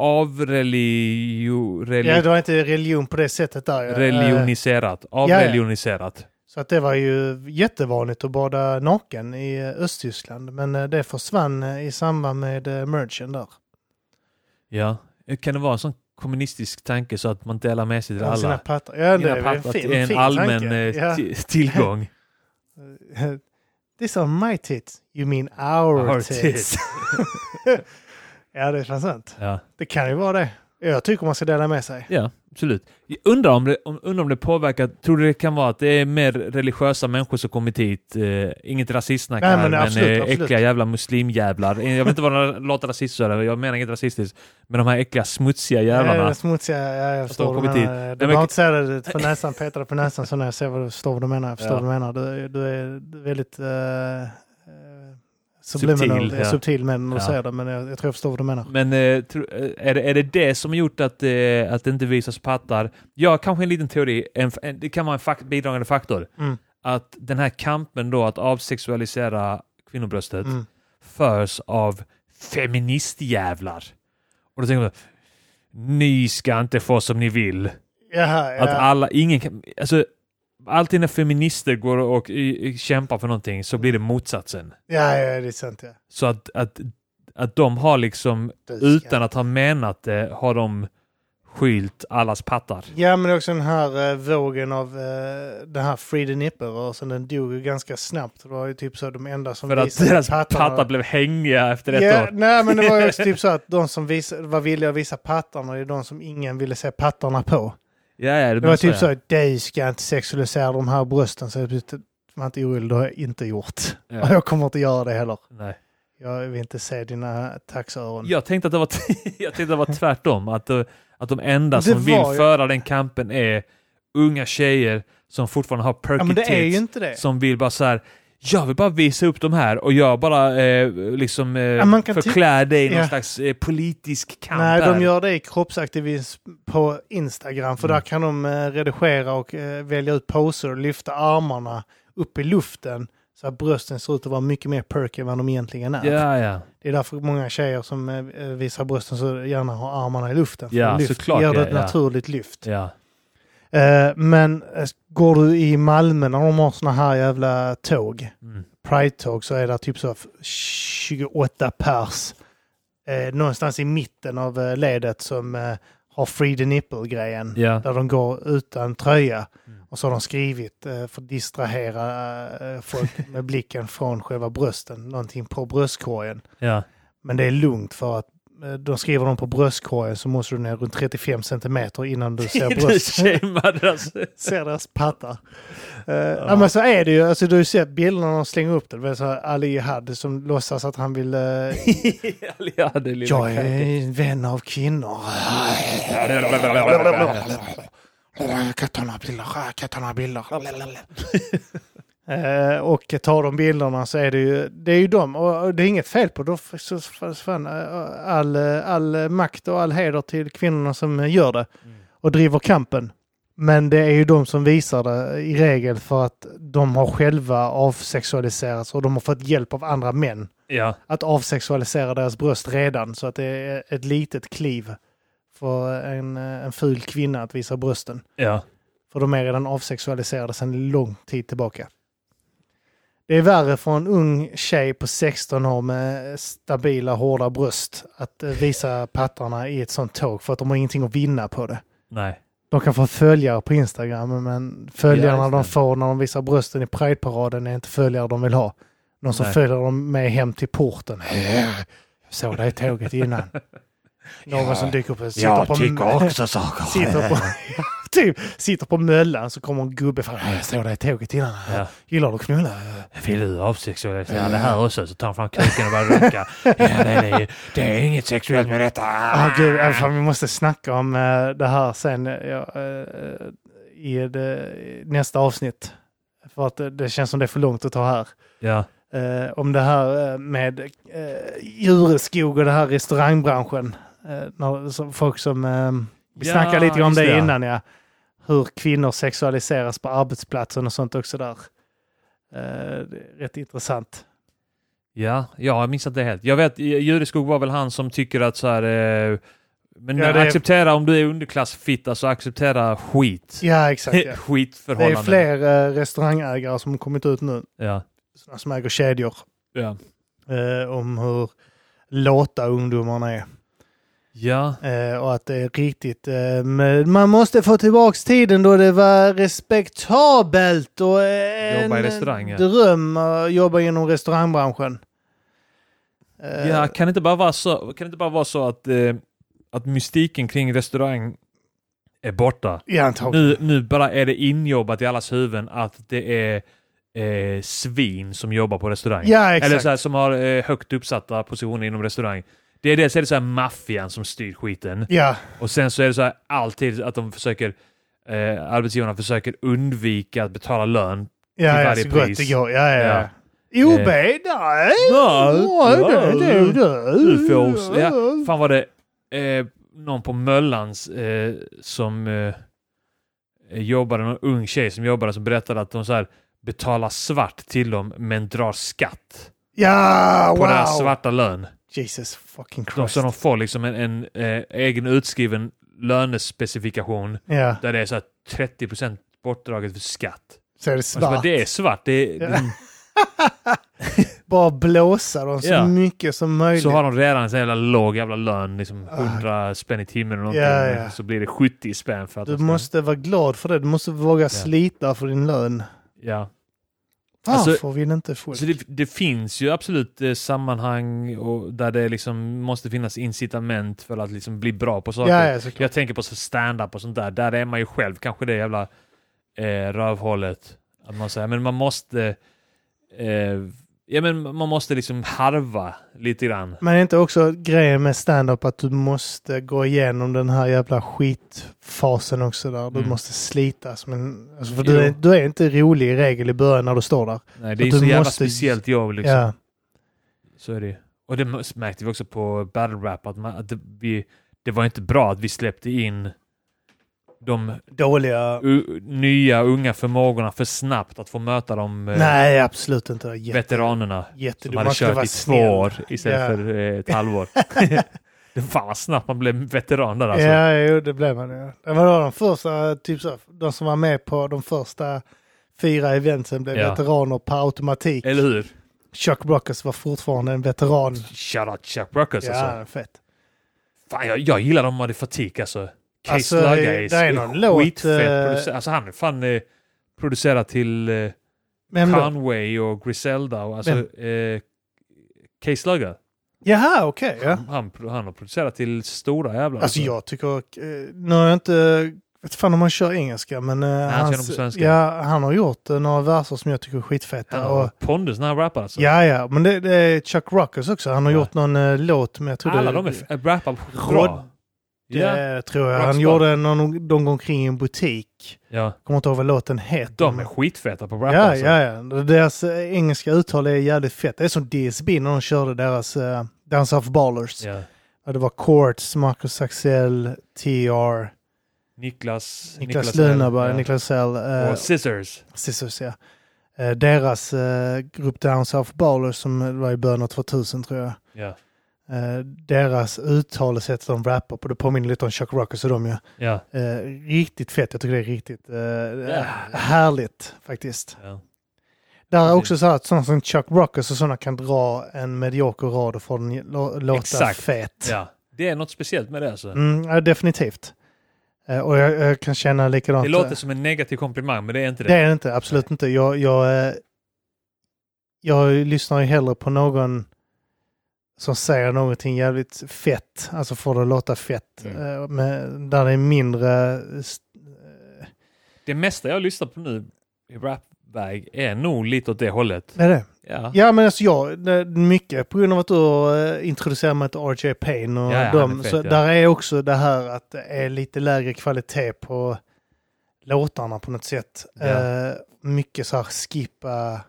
[SPEAKER 1] avreligio... Reli,
[SPEAKER 2] Ja, det var inte religion på det sättet där. ja. Eh,
[SPEAKER 1] religioniserat. Avreligioniserat.
[SPEAKER 2] Så att det var ju jättevanligt att bada naken i eh, Östtyskland. Men eh, det försvann eh, i samband med eh, mergen där.
[SPEAKER 1] Ja. Eh, Kan det vara en sån kommunistisk tanke så att man delar med sig till
[SPEAKER 2] Om Sina
[SPEAKER 1] alla?
[SPEAKER 2] pattar. Ja, det
[SPEAKER 1] Mina
[SPEAKER 2] är ju en
[SPEAKER 1] pappar
[SPEAKER 2] fin,
[SPEAKER 1] är en
[SPEAKER 2] fin
[SPEAKER 1] allmän
[SPEAKER 2] tanke.
[SPEAKER 1] eh,
[SPEAKER 2] Ja.
[SPEAKER 1] ti- tillgång.
[SPEAKER 2] These are my tits. You mean our,
[SPEAKER 1] Our
[SPEAKER 2] tits.
[SPEAKER 1] tits.
[SPEAKER 2] ja, det är fan sant.
[SPEAKER 1] Ja.
[SPEAKER 2] Det kan ju vara det. Jag tycker man ska dela med sig.
[SPEAKER 1] Ja, absolut. Jag Undrar om det, om, undrar om det påverkar, tror du det kan vara att det är mer religiösa människor som kommit hit? Eh, inget rasistsnack
[SPEAKER 2] Nej,
[SPEAKER 1] här,
[SPEAKER 2] men
[SPEAKER 1] men,
[SPEAKER 2] absolut,
[SPEAKER 1] eh,
[SPEAKER 2] absolut.
[SPEAKER 1] äckliga jävla muslimjävlar. Eh, Jag vill inte vara låta rasist så här, jag menar inget rasistiskt. Men de här äckliga, smutsiga
[SPEAKER 2] Ja,
[SPEAKER 1] jävlarna.
[SPEAKER 2] det smutsiga, ja, jag förstår
[SPEAKER 1] de
[SPEAKER 2] vad du
[SPEAKER 1] kommit hit.
[SPEAKER 2] menar. Du
[SPEAKER 1] Nej, men-
[SPEAKER 2] behöver inte säga det på näsan, peta det på näsan så när jag ser vad du förstår vad du menar. Jag förstår
[SPEAKER 1] Ja.
[SPEAKER 2] vad du menar. Du, du är väldigt uh, subliminal,
[SPEAKER 1] Subtil,
[SPEAKER 2] subtil,
[SPEAKER 1] ja.
[SPEAKER 2] subtil med det när du
[SPEAKER 1] Ja.
[SPEAKER 2] säger det, men jag, jag tror jag förstår vad du menar.
[SPEAKER 1] Men eh, tro, eh, är, det, är det det som gjort att, eh, att det inte visas pattar? Ja, kanske en liten teori. En, f- en, det kan vara en fak bidragande faktor.
[SPEAKER 2] Mm.
[SPEAKER 1] Att den här kampen då att avsexualisera kvinnobröstet
[SPEAKER 2] Mm.
[SPEAKER 1] förs av feministjävlar. Och då tänker man, ni ska inte få som ni vill.
[SPEAKER 2] Jaha,
[SPEAKER 1] Att
[SPEAKER 2] ja.
[SPEAKER 1] alla, ingen kan, alltså, alltid när feminister går och i, i, kämpar för någonting så blir det motsatsen.
[SPEAKER 2] ja, ja, det är sant. Ja.
[SPEAKER 1] Så att, att, att de har liksom,
[SPEAKER 2] Du ska-
[SPEAKER 1] utan att ha menat det, har de skylt allas pattar.
[SPEAKER 2] Ja, men också den här eh, vågen av eh, den här Free the Nipper-rörelsen, den dog ju ganska snabbt. Det var ju typ så de enda som
[SPEAKER 1] För att
[SPEAKER 2] visade
[SPEAKER 1] deras
[SPEAKER 2] pattarna-
[SPEAKER 1] pattar blev hängiga efter ett
[SPEAKER 2] Ja,
[SPEAKER 1] år.
[SPEAKER 2] nej, men det var ju också typ så att de som visa, var villiga att visa pattarna, det är de som ingen ville se pattarna på.
[SPEAKER 1] Ja, ja, det
[SPEAKER 2] Det var
[SPEAKER 1] måste
[SPEAKER 2] typ
[SPEAKER 1] jag
[SPEAKER 2] så
[SPEAKER 1] säga.
[SPEAKER 2] att du ska inte sexualisera de här brösten. Så jag blev typ, var inte orolig, det har jag inte gjort.
[SPEAKER 1] Ja.
[SPEAKER 2] Och jag kommer inte göra det heller.
[SPEAKER 1] Nej.
[SPEAKER 2] Jag vill inte se dina taxöron.
[SPEAKER 1] Jag tänkte att det var, jag tänkte att det var tvärtom. Att, eh, att de enda
[SPEAKER 2] Det
[SPEAKER 1] som vill
[SPEAKER 2] var ju-
[SPEAKER 1] föra den kampen är unga tjejer som fortfarande har perky
[SPEAKER 2] ja, men det är ju
[SPEAKER 1] tits,
[SPEAKER 2] inte det.
[SPEAKER 1] Som vill bara så här. Jag vill bara visa upp de här och jag bara eh, liksom eh,
[SPEAKER 2] man kan ty-
[SPEAKER 1] förklär dig i någon
[SPEAKER 2] Ja.
[SPEAKER 1] slags eh, politisk kamp.
[SPEAKER 2] Nej,
[SPEAKER 1] här.
[SPEAKER 2] de gör det i kroppsaktivism på Instagram. För
[SPEAKER 1] Mm.
[SPEAKER 2] där kan de eh, redigera och eh, välja ut poser och lyfta armarna upp i luften så här, brösten ser ut att vara mycket mer perky än vad de egentligen är.
[SPEAKER 1] Ja, ja.
[SPEAKER 2] Det är därför många tjejer som eh, visar brösten så gärna har armarna i luften. för
[SPEAKER 1] Ja,
[SPEAKER 2] lyft.
[SPEAKER 1] såklart,
[SPEAKER 2] Ger det
[SPEAKER 1] ja,
[SPEAKER 2] ett
[SPEAKER 1] ja.
[SPEAKER 2] naturligt lyft.
[SPEAKER 1] Ja.
[SPEAKER 2] Eh, men eh, går du i Malmö när de har såna här jävla tåg,
[SPEAKER 1] Mm.
[SPEAKER 2] Pride-tåg, så är det typ så f- 28 pers eh, någonstans i mitten av eh, ledet som eh, har Free the Nipple-grejen.
[SPEAKER 1] Ja.
[SPEAKER 2] Där de går utan tröja.
[SPEAKER 1] Mm.
[SPEAKER 2] Och så har de skrivit eh, för att distrahera eh, folk med blicken från själva brösten. Någonting på bröstkorgen.
[SPEAKER 1] Ja.
[SPEAKER 2] Men det är lugnt för att eh, de skriver dem på bröstkorgen så måste du ner runt 35 centimeter innan du ser
[SPEAKER 1] Du
[SPEAKER 2] bröst.
[SPEAKER 1] shameade alltså.
[SPEAKER 2] ser deras pattar. Eh, ja. men så är det ju. Alltså, du har ju sett bilderna när de slänger upp det. Det var så här Ali Had som låtsas att han vill... eh,
[SPEAKER 1] ja, det är lilla
[SPEAKER 2] jag är
[SPEAKER 1] katten.
[SPEAKER 2] en vän av kvinnor.
[SPEAKER 3] Katana bilder, katana bilder.
[SPEAKER 2] Eh, och tar de bilderna så är det ju, det är ju dem. Och och det är inget fel på det. Då f- så- f- fan, eh, All, eh, all makt och all heder till kvinnorna som eh, gör det och driver kampen. Men det är ju de som visar det i regel för att de har själva avsexualiserats och de har fått hjälp av andra män
[SPEAKER 1] Ja.
[SPEAKER 2] att avsexualisera deras bröst redan. Så att det är ett litet kliv för en, eh, en ful kvinna att visa brösten.
[SPEAKER 1] Ja.
[SPEAKER 2] För de är redan avsexualiserade sedan lång tid tillbaka. Det är värre för en ung tjej på 16 år med stabila, hårda bröst att eh, visa pattarna i ett sånt tåg för att de har ingenting att vinna på det.
[SPEAKER 1] Nej.
[SPEAKER 2] De kan få följare på Instagram, men följarna
[SPEAKER 1] Ja, just det.
[SPEAKER 2] de får när de visar brösten i Pride-paraden är inte följare de vill ha. Någon som
[SPEAKER 1] Nej.
[SPEAKER 2] följer dem med hem till porten. Jag såg dig i tåget innan. Någon som dyker upp och sitter på...
[SPEAKER 5] saker.
[SPEAKER 2] sitter på, typ, sitter på möllan så kommer en gubbe fram. Jag såg dig i tåget innan.
[SPEAKER 1] Ja.
[SPEAKER 2] Gillar du att knulla?
[SPEAKER 1] Vill du avsexualisera det här också? Så tar han fram kuken och börjar runka. ja, det, är, det är inget sexuellt med detta.
[SPEAKER 2] Ah, gud, äh, fan, vi måste snacka om eh, det här sen ja, eh, i det, i nästa avsnitt. För att eh, det känns som det är för långt att ta här.
[SPEAKER 1] Ja.
[SPEAKER 2] Eh, om det här eh, med eh, djureskog och det här restaurangbranschen. Eh, när, som folk som... Eh, vi
[SPEAKER 1] Ja,
[SPEAKER 2] snackade lite om
[SPEAKER 1] just
[SPEAKER 2] det
[SPEAKER 1] det, ja.
[SPEAKER 2] innan, ja. Hur kvinnor sexualiseras på arbetsplatsen och sånt också där. Eh, det är rätt intressant.
[SPEAKER 1] Ja, jag har missat det helt. Jag vet, Jureskog var väl han som tycker att så här... Eh, men
[SPEAKER 2] Ja, det är-
[SPEAKER 1] acceptera om du är underklassfitta så acceptera skit.
[SPEAKER 2] Ja, exakt. Ja. Det är
[SPEAKER 1] Skitförhållanden.
[SPEAKER 2] fler eh, restaurangägare som har kommit ut nu,
[SPEAKER 1] Ja.
[SPEAKER 2] sådana som äger kedjor,
[SPEAKER 1] Ja.
[SPEAKER 2] eh, om hur låta ungdomarna är.
[SPEAKER 1] Ja.
[SPEAKER 2] Eh, och att det är riktigt. Eh, men man måste få tillbaks tiden då det var respektabelt och eh,
[SPEAKER 1] Jobba i
[SPEAKER 2] en
[SPEAKER 1] restaurang, ja.
[SPEAKER 2] dröm att jobba inom restaurangbranschen. Eh,
[SPEAKER 1] ja, kan det inte bara vara så, kan det inte bara vara så att, eh, att mystiken kring restaurang är borta?
[SPEAKER 2] ja, antagligen.
[SPEAKER 1] Nu, nu bara är det injobbat i allas huvuden att det är eh, svin som jobbar på restaurang.
[SPEAKER 2] Ja, exakt.
[SPEAKER 1] Eller så här, som har eh, högt uppsatta positioner inom restaurang. Det är dels är det så här maffian som styr skiten.
[SPEAKER 2] Ja,
[SPEAKER 1] Och sen så är det så här alltid att de försöker, eh, arbetsgivarna försöker undvika att betala lön.
[SPEAKER 2] ja, ja
[SPEAKER 1] varje
[SPEAKER 2] så gott
[SPEAKER 1] pris.
[SPEAKER 2] det går. Ja, ja, ja.
[SPEAKER 1] Ja.
[SPEAKER 2] OB,
[SPEAKER 1] Eh.
[SPEAKER 2] nej!
[SPEAKER 1] Nej,
[SPEAKER 2] det- det-
[SPEAKER 1] Du får... Ja,
[SPEAKER 2] Mm.
[SPEAKER 1] fan var det eh, någon på Möllans eh, som eh, jobbade, någon ung tjej som jobbade som berättade att de så här betalar svart till dem men drar skatt
[SPEAKER 2] Ja,
[SPEAKER 1] på deras
[SPEAKER 2] wow!
[SPEAKER 1] svarta lön.
[SPEAKER 2] Jesus fucking
[SPEAKER 1] De,
[SPEAKER 2] Christ.
[SPEAKER 1] så de får liksom en, en eh, egen utskriven lönespecifikation
[SPEAKER 2] Ja,
[SPEAKER 1] där det är så här 30 bortdraget för skatt.
[SPEAKER 2] så är det
[SPEAKER 1] Och så bara,
[SPEAKER 2] svart.
[SPEAKER 1] det är svart. Det är, mm.
[SPEAKER 2] Ja. Bara blåsa dem så
[SPEAKER 1] Ja.
[SPEAKER 2] mycket som möjligt. Ah.
[SPEAKER 1] Så har de redan en sån jävla låg jävla lön, liksom 100 spänn i timmen eller någonting.
[SPEAKER 2] Ja, ja.
[SPEAKER 1] Så blir det 70 spänn för att de
[SPEAKER 2] Du
[SPEAKER 1] ska-
[SPEAKER 2] måste vara glad för det. Du måste våga slita för din lön.
[SPEAKER 1] Ja.
[SPEAKER 2] Varför
[SPEAKER 1] Alltså-
[SPEAKER 2] vill inte folk?
[SPEAKER 1] Så det, det finns ju absolut eh, sammanhang och där det liksom måste finnas incitament för att liksom bli bra på saker.
[SPEAKER 2] ja, ja, såklart.
[SPEAKER 1] Jag tänker på så stand-up och sånt där. Där är man ju själv kanske det jävla eh, rövhålet. Att man säger, men man måste... Eh, ja, men man måste liksom harva lite grann.
[SPEAKER 2] Men är inte också grejen med stand-up att du måste gå igenom den här jävla skitfasen också där. Du
[SPEAKER 1] Mm.
[SPEAKER 2] måste slita som en... Alltså för
[SPEAKER 1] Jo.
[SPEAKER 2] du, är, du är inte rolig i regel i början när du står där.
[SPEAKER 1] Nej, det är
[SPEAKER 2] Att
[SPEAKER 1] ju så
[SPEAKER 2] du
[SPEAKER 1] jävla
[SPEAKER 2] måste-
[SPEAKER 1] speciellt jobb liksom.
[SPEAKER 2] Ja.
[SPEAKER 1] Så är det ju. Och det mås- märkte vi också på battle rap att, man, att det, vi, det var inte bra att vi släppte in de
[SPEAKER 2] Dåliga...
[SPEAKER 1] u- nya unga förmågorna för snabbt att få möta de eh,
[SPEAKER 2] Nej, absolut inte. Jätte,
[SPEAKER 1] veteranerna som
[SPEAKER 2] jättedum.
[SPEAKER 1] hade
[SPEAKER 2] Man skulle
[SPEAKER 1] kört
[SPEAKER 2] vara
[SPEAKER 1] i två
[SPEAKER 2] snäll.
[SPEAKER 1] år istället
[SPEAKER 2] Ja.
[SPEAKER 1] för eh, ett halvår. det fan vad snabbt man blev veteran där alltså.
[SPEAKER 2] Ja, jo, det blev man ju. Det var de första, typ så, de som var med på de första fyra eventen blev
[SPEAKER 1] Ja.
[SPEAKER 2] veteraner på automatik.
[SPEAKER 1] Eller hur?
[SPEAKER 2] Chuck Blockers var fortfarande en veteran.
[SPEAKER 1] Shout out Chuck Ruckers alltså.
[SPEAKER 2] Ja, fett.
[SPEAKER 1] Fan, jag, jag gillar dem med fatik alltså. Case
[SPEAKER 2] Alltså,
[SPEAKER 1] Lugga
[SPEAKER 2] det är någon låt, eh,
[SPEAKER 1] producent. Alltså han är fan eh, producerad till eh,
[SPEAKER 2] Men då-
[SPEAKER 1] Conway och Griselda och alltså eh, Case Lugga.
[SPEAKER 2] Jaha, okej. ja.
[SPEAKER 1] Han, han har producerat till stora jävlar.
[SPEAKER 2] Alltså jag tycker, eh, nu har jag inte, vet fan om han kör engelska men... eh,
[SPEAKER 1] han kör
[SPEAKER 2] hans-
[SPEAKER 1] dem på svenska.
[SPEAKER 2] Ja, han har gjort eh, några verser som jag tycker är skitfeta.
[SPEAKER 1] han
[SPEAKER 2] och,
[SPEAKER 1] har pondus när han rappar alltså.
[SPEAKER 2] ja, ja, men det, det är Chuck Rockers också. Han har
[SPEAKER 1] Ja.
[SPEAKER 2] gjort någon eh, låt med, jag tror
[SPEAKER 1] Alla
[SPEAKER 2] det,
[SPEAKER 1] de är f- äh, rappar bra.
[SPEAKER 2] Rod-
[SPEAKER 1] Ja.
[SPEAKER 2] det tror jag. Han
[SPEAKER 1] Rockstar.
[SPEAKER 2] gjorde någon, någon gång kring i en butik.
[SPEAKER 1] ja.
[SPEAKER 2] Kommer inte ihåg vad låten heter.
[SPEAKER 1] De är
[SPEAKER 2] men-
[SPEAKER 1] skitfeta på att rappa
[SPEAKER 2] Ja,
[SPEAKER 1] alltså.
[SPEAKER 2] ja, ja. Deras eh, engelska uttal är jävligt fett. Det är som DSB när de körde deras eh, Dance of Ballers.
[SPEAKER 1] Ja.
[SPEAKER 2] Ja, Det var Courts, Marcus Axel, TR.
[SPEAKER 1] Niklas...
[SPEAKER 2] Niklas
[SPEAKER 1] Nell,
[SPEAKER 2] Lönaberg,
[SPEAKER 1] ja.
[SPEAKER 2] Niklas Sell, eh,
[SPEAKER 1] Och Scissors.
[SPEAKER 2] Scissors, ja. Eh, deras eh, grupp Down South Ballers som var i början av 2000 tror jag.
[SPEAKER 1] Ja.
[SPEAKER 2] Eh, deras uttal och sätt de rappar på, det påminner lite om Chuck Rockers och dem ju.
[SPEAKER 1] Ja.
[SPEAKER 2] Eh, riktigt fett, jag tycker det är riktigt eh, härligt faktiskt.
[SPEAKER 1] ja.
[SPEAKER 2] Där är
[SPEAKER 1] Precis.
[SPEAKER 2] också så här att sådana som Chuck Rockers och sådana kan dra en medioker rad och få den lå- låta
[SPEAKER 1] Exakt.
[SPEAKER 2] fet.
[SPEAKER 1] ja. Det är något speciellt med det alltså.
[SPEAKER 2] Mm, ja, definitivt. Eh, och jag, jag kan känna likadant.
[SPEAKER 1] Det låter som en negativ komplimang, men det är inte det.
[SPEAKER 2] Det är det inte, absolut inte. Jag, jag, eh, jag lyssnar ju hellre på någon som säger någonting jävligt fett, alltså får det att låta fett,
[SPEAKER 1] Mm.
[SPEAKER 2] eh, men där det är mindre... st-
[SPEAKER 1] Det mesta jag lyssnar på nu i rapväg är nog lite åt det hållet.
[SPEAKER 2] Är det?
[SPEAKER 1] Ja.
[SPEAKER 2] Ja men alltså jag, det- mycket på grund av att du eh, introducerar mig till RJ Payne och
[SPEAKER 1] Ja, ja, han är
[SPEAKER 2] dem,
[SPEAKER 1] fet,
[SPEAKER 2] så
[SPEAKER 1] ja.
[SPEAKER 2] där är också det här att det är lite lägre kvalitet på låtarna på något sätt.
[SPEAKER 1] Ja.
[SPEAKER 2] Eh, mycket så här skippa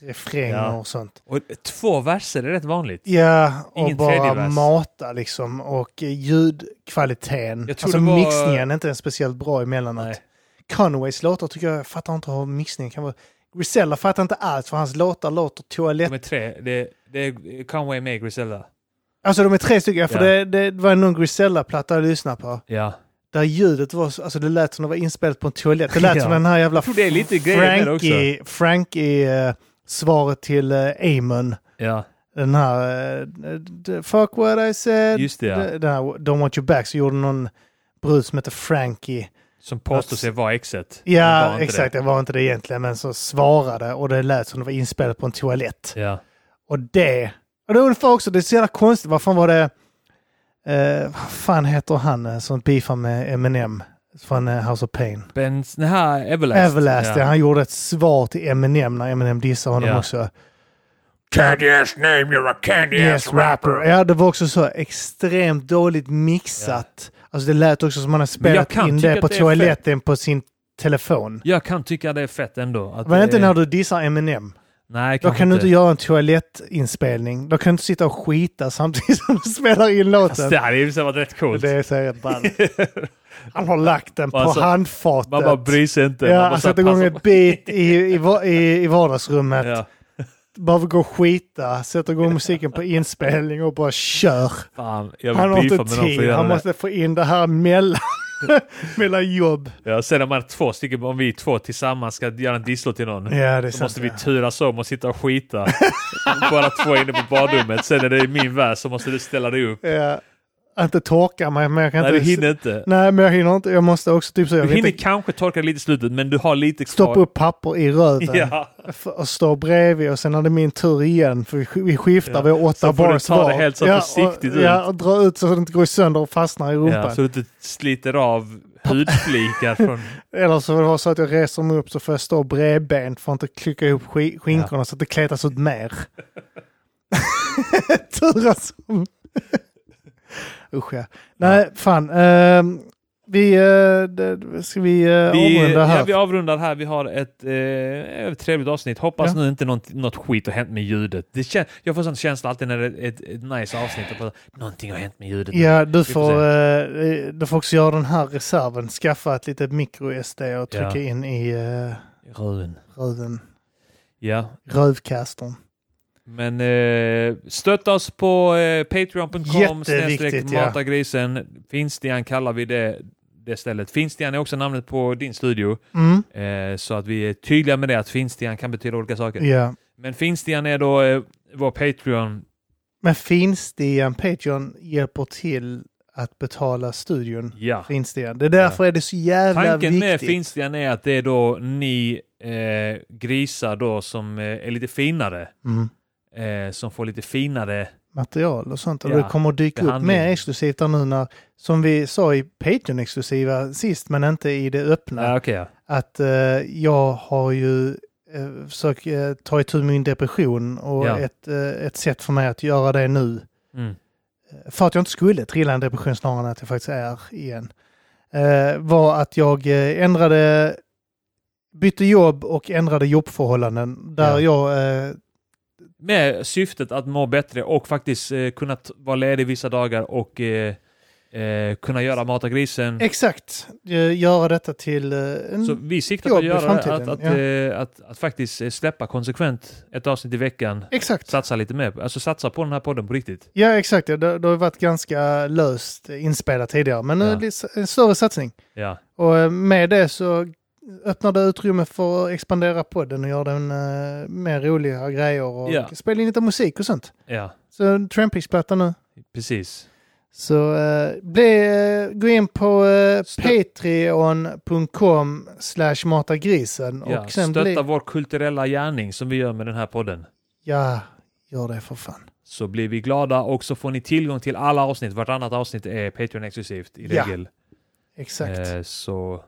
[SPEAKER 2] refränger
[SPEAKER 1] Ja.
[SPEAKER 2] och sånt.
[SPEAKER 1] Och två verser är rätt vanligt.
[SPEAKER 2] Ja, och
[SPEAKER 1] Ingen tredje
[SPEAKER 2] bara
[SPEAKER 1] vers.
[SPEAKER 2] mata liksom och eh, ljudkvaliteten.
[SPEAKER 1] Jag tror
[SPEAKER 2] Alltså
[SPEAKER 1] det var-
[SPEAKER 2] mixningen är inte ens speciellt bra emellanåt.
[SPEAKER 1] Nej.
[SPEAKER 2] Conways låtar tycker jag, jag fattar inte hur mixningen kan vara. Grisella fattar inte alls för hans låtar låter toalett...
[SPEAKER 1] De är tre. Det, det är Conway med Griselda.
[SPEAKER 2] Alltså de är tre stycken, för
[SPEAKER 1] Ja.
[SPEAKER 2] det, det var någon Grisella-platta jag lyssnade på.
[SPEAKER 1] Ja.
[SPEAKER 2] Där ljudet var, så- alltså det lät som det var inspelat på en toalett. Det lät
[SPEAKER 1] Ja.
[SPEAKER 2] som den här jävla
[SPEAKER 1] Jag tror det är lite grejer med det också.
[SPEAKER 2] Frankie- Frankie-svaret till eh, Amon.
[SPEAKER 1] Ja.
[SPEAKER 2] Den här... eh, d- Fuck what I said.
[SPEAKER 1] Just det, ja.
[SPEAKER 2] Den- Den här Don't want you back. Så gjorde någon brud som hette Frankie.
[SPEAKER 1] Som påstår sig vara exet. Men var
[SPEAKER 2] Ja,
[SPEAKER 1] inte
[SPEAKER 2] exakt. Det. var inte det egentligen. Men så svarade och det lät som det var inspelat på en toalett.
[SPEAKER 1] Det. Ja.
[SPEAKER 2] Och det... Och det var ungefär också... Det är så jävla konstigt. Vad fan var det... Eh, vad fan heter han eh, som beefar med Eminem? Från eh, House of Pain.
[SPEAKER 1] Ben, den här Everlast.
[SPEAKER 2] Everlast, ja. Han gjorde ett svar till Eminem när Eminem dissade honom
[SPEAKER 1] Ja.
[SPEAKER 2] också.
[SPEAKER 4] Candy ass name, you're a candy
[SPEAKER 2] Yes, rapper. Ja, det var också så extremt dåligt mixat. Alltså det lät också som man har
[SPEAKER 1] Men jag
[SPEAKER 2] spelat
[SPEAKER 1] kan
[SPEAKER 2] in
[SPEAKER 1] tycka
[SPEAKER 2] det på
[SPEAKER 1] att det är
[SPEAKER 2] toaletten på sin telefon.
[SPEAKER 1] Jag kan tycka det är fett ändå. Att
[SPEAKER 2] Men
[SPEAKER 1] det
[SPEAKER 2] inte
[SPEAKER 1] är-
[SPEAKER 2] när du dissar Eminem.
[SPEAKER 1] Nej,
[SPEAKER 2] Då
[SPEAKER 1] kanske
[SPEAKER 2] kan du inte göra en toalettinspelning. Då kan du inte sitta och skita samtidigt som du spelar in
[SPEAKER 1] Alltså,
[SPEAKER 2] låten.
[SPEAKER 1] det hade ju så varit rätt coolt.
[SPEAKER 2] Det är så jävla ball. Han har lagt den på
[SPEAKER 1] Alltså,
[SPEAKER 2] handfatet.
[SPEAKER 1] Man bara bryr sig inte.
[SPEAKER 2] Ja, alltså,
[SPEAKER 1] man bara
[SPEAKER 2] han sätter igång ett beat i, i, va- i, i vardagsrummet.
[SPEAKER 1] Ja.
[SPEAKER 2] Bara gå och skita, sätter igång musiken på inspelning och bara kör.
[SPEAKER 1] Fan, jag vill
[SPEAKER 2] Han har
[SPEAKER 1] beefa
[SPEAKER 2] inte
[SPEAKER 1] med någon för att
[SPEAKER 2] tid,
[SPEAKER 1] göra
[SPEAKER 2] han
[SPEAKER 1] det.
[SPEAKER 2] måste få in det här mellan, mellan jobb.
[SPEAKER 1] Ja, sen om man är två stycken, om vi två tillsammans ska göra en disslåt till någon.
[SPEAKER 2] Ja, det är
[SPEAKER 1] Då måste vi
[SPEAKER 2] ja.
[SPEAKER 1] turas om och sitta och skita. Bara två inne på badrummet. Sen är det min vers så måste du ställa dig upp.
[SPEAKER 2] Ja. Inte torka mig, men jag kan
[SPEAKER 1] Nej, du
[SPEAKER 2] inte...
[SPEAKER 1] hinner inte.
[SPEAKER 2] Nej, men jag hinner inte. Jag måste också typ så. Jag
[SPEAKER 1] Du
[SPEAKER 2] vill
[SPEAKER 1] hinner
[SPEAKER 2] inte
[SPEAKER 1] kanske torka lite i slutet, men du har lite kvar.
[SPEAKER 2] stoppa upp papper i röven
[SPEAKER 1] Ja,
[SPEAKER 2] f- och stå bredvid och sen är det min tur igen för vi sk- vi skiftar
[SPEAKER 1] Ja.
[SPEAKER 2] våra åtta
[SPEAKER 1] Så får du
[SPEAKER 2] bars
[SPEAKER 1] ta det
[SPEAKER 2] var.
[SPEAKER 1] helt så försiktigt
[SPEAKER 2] och,
[SPEAKER 1] ut.
[SPEAKER 2] Ja, och dra ut så att det inte går sönder och fastnar i
[SPEAKER 1] ja,
[SPEAKER 2] rumpan.
[SPEAKER 1] så du inte sliter av hudflikar från...
[SPEAKER 2] Eller så var det vara så att jag reser mig upp så får jag stå bredbent för att inte klicka ihop sk- skinkorna så att det kletas ut mer. Turas om. Usch ja. Nej, fan. ehm, Vi, eh, det- ska vi, eh,
[SPEAKER 1] Vi,
[SPEAKER 2] avrunda här?
[SPEAKER 1] ja, vi avrundar här. Vi har ett eh, ett trevligt avsnitt. Hoppas
[SPEAKER 2] Ja.
[SPEAKER 1] nu inte något, något skit har hänt med ljudet. Det kän, jag får sån känsla alltid när det är ett, ett nice avsnitt. att bara, Någonting har hänt med ljudet. nu."
[SPEAKER 2] Ja, du
[SPEAKER 1] får
[SPEAKER 2] får, eh, du får också göra den här reserven. Skaffa ett litet micro-SD och trycka
[SPEAKER 1] Ja.
[SPEAKER 2] in i eh,
[SPEAKER 1] Rön.
[SPEAKER 2] röven,
[SPEAKER 1] Ja,
[SPEAKER 2] rövkastern.
[SPEAKER 1] men eh, stötta oss på eh, patreon.com snedstreck
[SPEAKER 2] Jätteviktigt, ja.
[SPEAKER 1] matagrisen. Finstian kallar vi det, det stället. Finstian är också namnet på din studio.
[SPEAKER 2] Mm.
[SPEAKER 1] Eh, så att vi är tydliga med det att Finstian kan betyda olika saker.
[SPEAKER 2] Ja.
[SPEAKER 1] Men Finstian är då eh, vår Patreon.
[SPEAKER 2] Men finstian Patreon hjälper till att betala studion.
[SPEAKER 1] Ja.
[SPEAKER 2] Finstian. Det är därför är det så jävla
[SPEAKER 1] Tanken med
[SPEAKER 2] viktigt.
[SPEAKER 1] Finstian är att det är då ni eh, grisar då som eh, är lite finare.
[SPEAKER 2] Mm.
[SPEAKER 1] Eh, som får lite finare.
[SPEAKER 2] Material och sånt. Och
[SPEAKER 1] Ja,
[SPEAKER 2] det kommer att dyka upp
[SPEAKER 1] behandling.
[SPEAKER 2] mer exklusivt där nu när, som vi sa i Patreon-exklusiva sist, men inte i det öppna.
[SPEAKER 1] Ja, okej. ja.
[SPEAKER 2] att eh, jag har ju eh, försökt eh, ta itu med min depression och
[SPEAKER 1] Ja.
[SPEAKER 2] ett, eh, ett sätt för mig att göra det nu,
[SPEAKER 1] Mm.
[SPEAKER 2] eh, för att jag inte skulle trilla i en depression snarare än att jag faktiskt är igen, eh, var att jag eh, ändrade, bytte jobb och ändrade jobbförhållanden där
[SPEAKER 1] Ja.
[SPEAKER 2] jag eh,
[SPEAKER 1] Med syftet att må bättre och faktiskt eh, kunna t- vara ledig vissa dagar och eh, eh, kunna göra Mata grisen.
[SPEAKER 2] exakt eh, göra detta till eh, en...
[SPEAKER 1] Så vi siktar
[SPEAKER 2] jobb
[SPEAKER 1] på att
[SPEAKER 2] i
[SPEAKER 1] göra det, att,
[SPEAKER 2] framtiden,
[SPEAKER 1] att,
[SPEAKER 2] ja.
[SPEAKER 1] eh, att, att faktiskt eh, släppa konsekvent ett avsnitt i veckan.
[SPEAKER 2] Exakt.
[SPEAKER 1] Satsa lite mer. Alltså satsa på den här podden på riktigt.
[SPEAKER 2] Ja, exakt. Det, det har varit ganska löst inspelat tidigare, men nu
[SPEAKER 1] Ja.
[SPEAKER 2] är det s- en större satsning.
[SPEAKER 1] Ja.
[SPEAKER 2] Och eh, med det så öppnar det utrymme för att expandera podden och göra den eh, mer roliga grejer och
[SPEAKER 1] Ja.
[SPEAKER 2] spela in lite musik och sånt.
[SPEAKER 1] Ja,
[SPEAKER 2] Så Trampix-platta nu.
[SPEAKER 1] precis.
[SPEAKER 2] Så eh, bli, eh, gå in på eh,
[SPEAKER 1] Stö-
[SPEAKER 2] patreon.com slash matagrisen
[SPEAKER 1] Ja.
[SPEAKER 2] och sen
[SPEAKER 1] Stötta
[SPEAKER 2] bli...
[SPEAKER 1] vår kulturella gärning som vi gör med den här podden.
[SPEAKER 2] Ja, gör det för fan.
[SPEAKER 1] så blir vi glada och så får ni tillgång till alla avsnitt. Vartannat avsnitt är Patreon exklusivt i
[SPEAKER 2] Ja,
[SPEAKER 1] regel.
[SPEAKER 2] Exakt.
[SPEAKER 1] Eh, så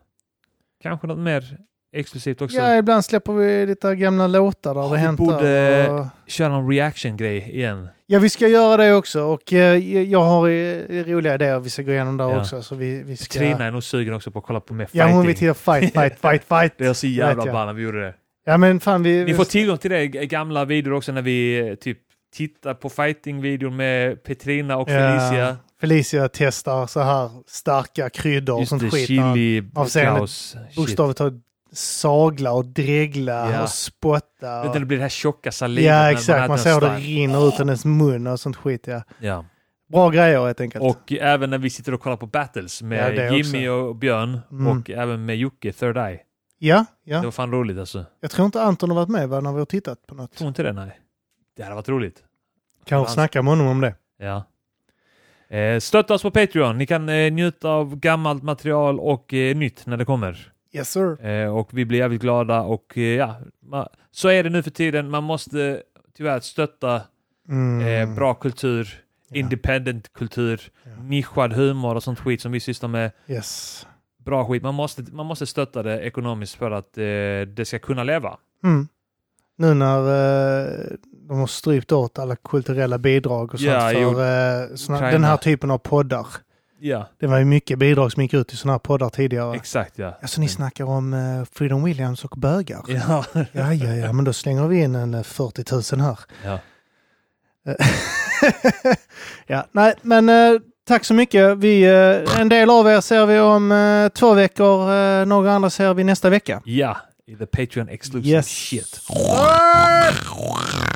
[SPEAKER 1] kanske något mer exklusivt också.
[SPEAKER 2] ja, ibland släpper vi lite gamla låtar där
[SPEAKER 1] Ja,
[SPEAKER 2] det
[SPEAKER 1] vi
[SPEAKER 2] hänt.
[SPEAKER 1] borde-
[SPEAKER 2] där och-
[SPEAKER 1] Kör någon reaction-grej igen.
[SPEAKER 2] Ja, vi ska göra det också och eh, jag har eh, roliga idéer vi ska gå igenom där
[SPEAKER 1] Ja.
[SPEAKER 2] också. Så vi, vi ska...
[SPEAKER 1] Trina är nog sugen också på att kolla på mer
[SPEAKER 2] Ja,
[SPEAKER 1] fighting.
[SPEAKER 2] hon vill titta på fight, fight, fight, fight.
[SPEAKER 1] det är så jävla
[SPEAKER 2] Vet jag.
[SPEAKER 1] ball när vi gjorde det.
[SPEAKER 2] Ja, men fan vi...
[SPEAKER 1] Ni får tillgång till det i gamla videor också när vi eh, typ tittar på fighting-videor med Petrina och
[SPEAKER 2] Ja,
[SPEAKER 1] Felicia.
[SPEAKER 2] Felicia testar så här starka kryddor och
[SPEAKER 1] Just
[SPEAKER 2] sånt
[SPEAKER 1] det,
[SPEAKER 2] skit. när
[SPEAKER 1] chili,
[SPEAKER 2] avseende
[SPEAKER 1] Klaus. Shit.
[SPEAKER 2] Bokstavligt taget sagla och dregla
[SPEAKER 1] Ja.
[SPEAKER 2] och spotta.
[SPEAKER 1] Vet
[SPEAKER 2] Och...
[SPEAKER 1] du, Det blir det här tjocka salivet. när
[SPEAKER 2] Ja,
[SPEAKER 1] äter
[SPEAKER 2] exakt.
[SPEAKER 1] en
[SPEAKER 2] Man ser hur det
[SPEAKER 1] stark.
[SPEAKER 2] rinner ut hennes mun och sånt skit. Ja.
[SPEAKER 1] Ja.
[SPEAKER 2] Bra grejer helt enkelt.
[SPEAKER 1] Och även när vi sitter och kollar på battles
[SPEAKER 2] Ja,
[SPEAKER 1] med
[SPEAKER 2] det
[SPEAKER 1] Jimmy och Björn
[SPEAKER 2] Mm.
[SPEAKER 1] och även med Jocke, Third Eye.
[SPEAKER 2] Ja,
[SPEAKER 1] Det
[SPEAKER 2] ja.
[SPEAKER 1] var fan roligt alltså.
[SPEAKER 2] Jag tror inte Anton har varit med va, när vi har tittat på något.
[SPEAKER 1] Tror inte det? Nej. Det hade varit roligt.
[SPEAKER 2] Kanske snacka med honom om det.
[SPEAKER 1] Ja. Eh, stötta oss på Patreon. Ni kan eh, njuta av gammalt material och eh, nytt när det kommer.
[SPEAKER 2] Yes sir.
[SPEAKER 1] Eh, och vi blir jävligt glada och eh, ja, ma- så är det nu för tiden. Man måste eh, tyvärr stötta
[SPEAKER 2] Mm.
[SPEAKER 1] eh, bra kultur, independent kultur, nischad humor och sånt skit som vi sysslar med.
[SPEAKER 2] Yes.
[SPEAKER 1] bra skit. Man måste, man måste stötta det ekonomiskt för att eh, det ska kunna leva.
[SPEAKER 2] Mm. Nu när eh, de har strypt åt alla kulturella bidrag och sånt
[SPEAKER 1] Ja,
[SPEAKER 2] för
[SPEAKER 1] jo.
[SPEAKER 2] eh, såna,
[SPEAKER 1] Ukraina.
[SPEAKER 2] den här typen av poddar.
[SPEAKER 1] Ja,
[SPEAKER 2] Det var ju mycket bidrag som gick ut i sådana här poddar tidigare.
[SPEAKER 1] exakt ja.
[SPEAKER 2] alltså ni snackar om eh, Freedom Williams och bögar.
[SPEAKER 1] Mm. Ja.
[SPEAKER 2] Ja, ja, ja, men då slänger vi in en eh, 40 000 här.
[SPEAKER 1] Ja.
[SPEAKER 2] Eh, ja, nej, men eh, tack så mycket. Vi, eh, en del av er ser vi om eh, två veckor. Eh, några andra ser vi nästa vecka.
[SPEAKER 1] ja, i the Patreon exclusive
[SPEAKER 2] Yes.
[SPEAKER 1] shit.
[SPEAKER 2] Ah!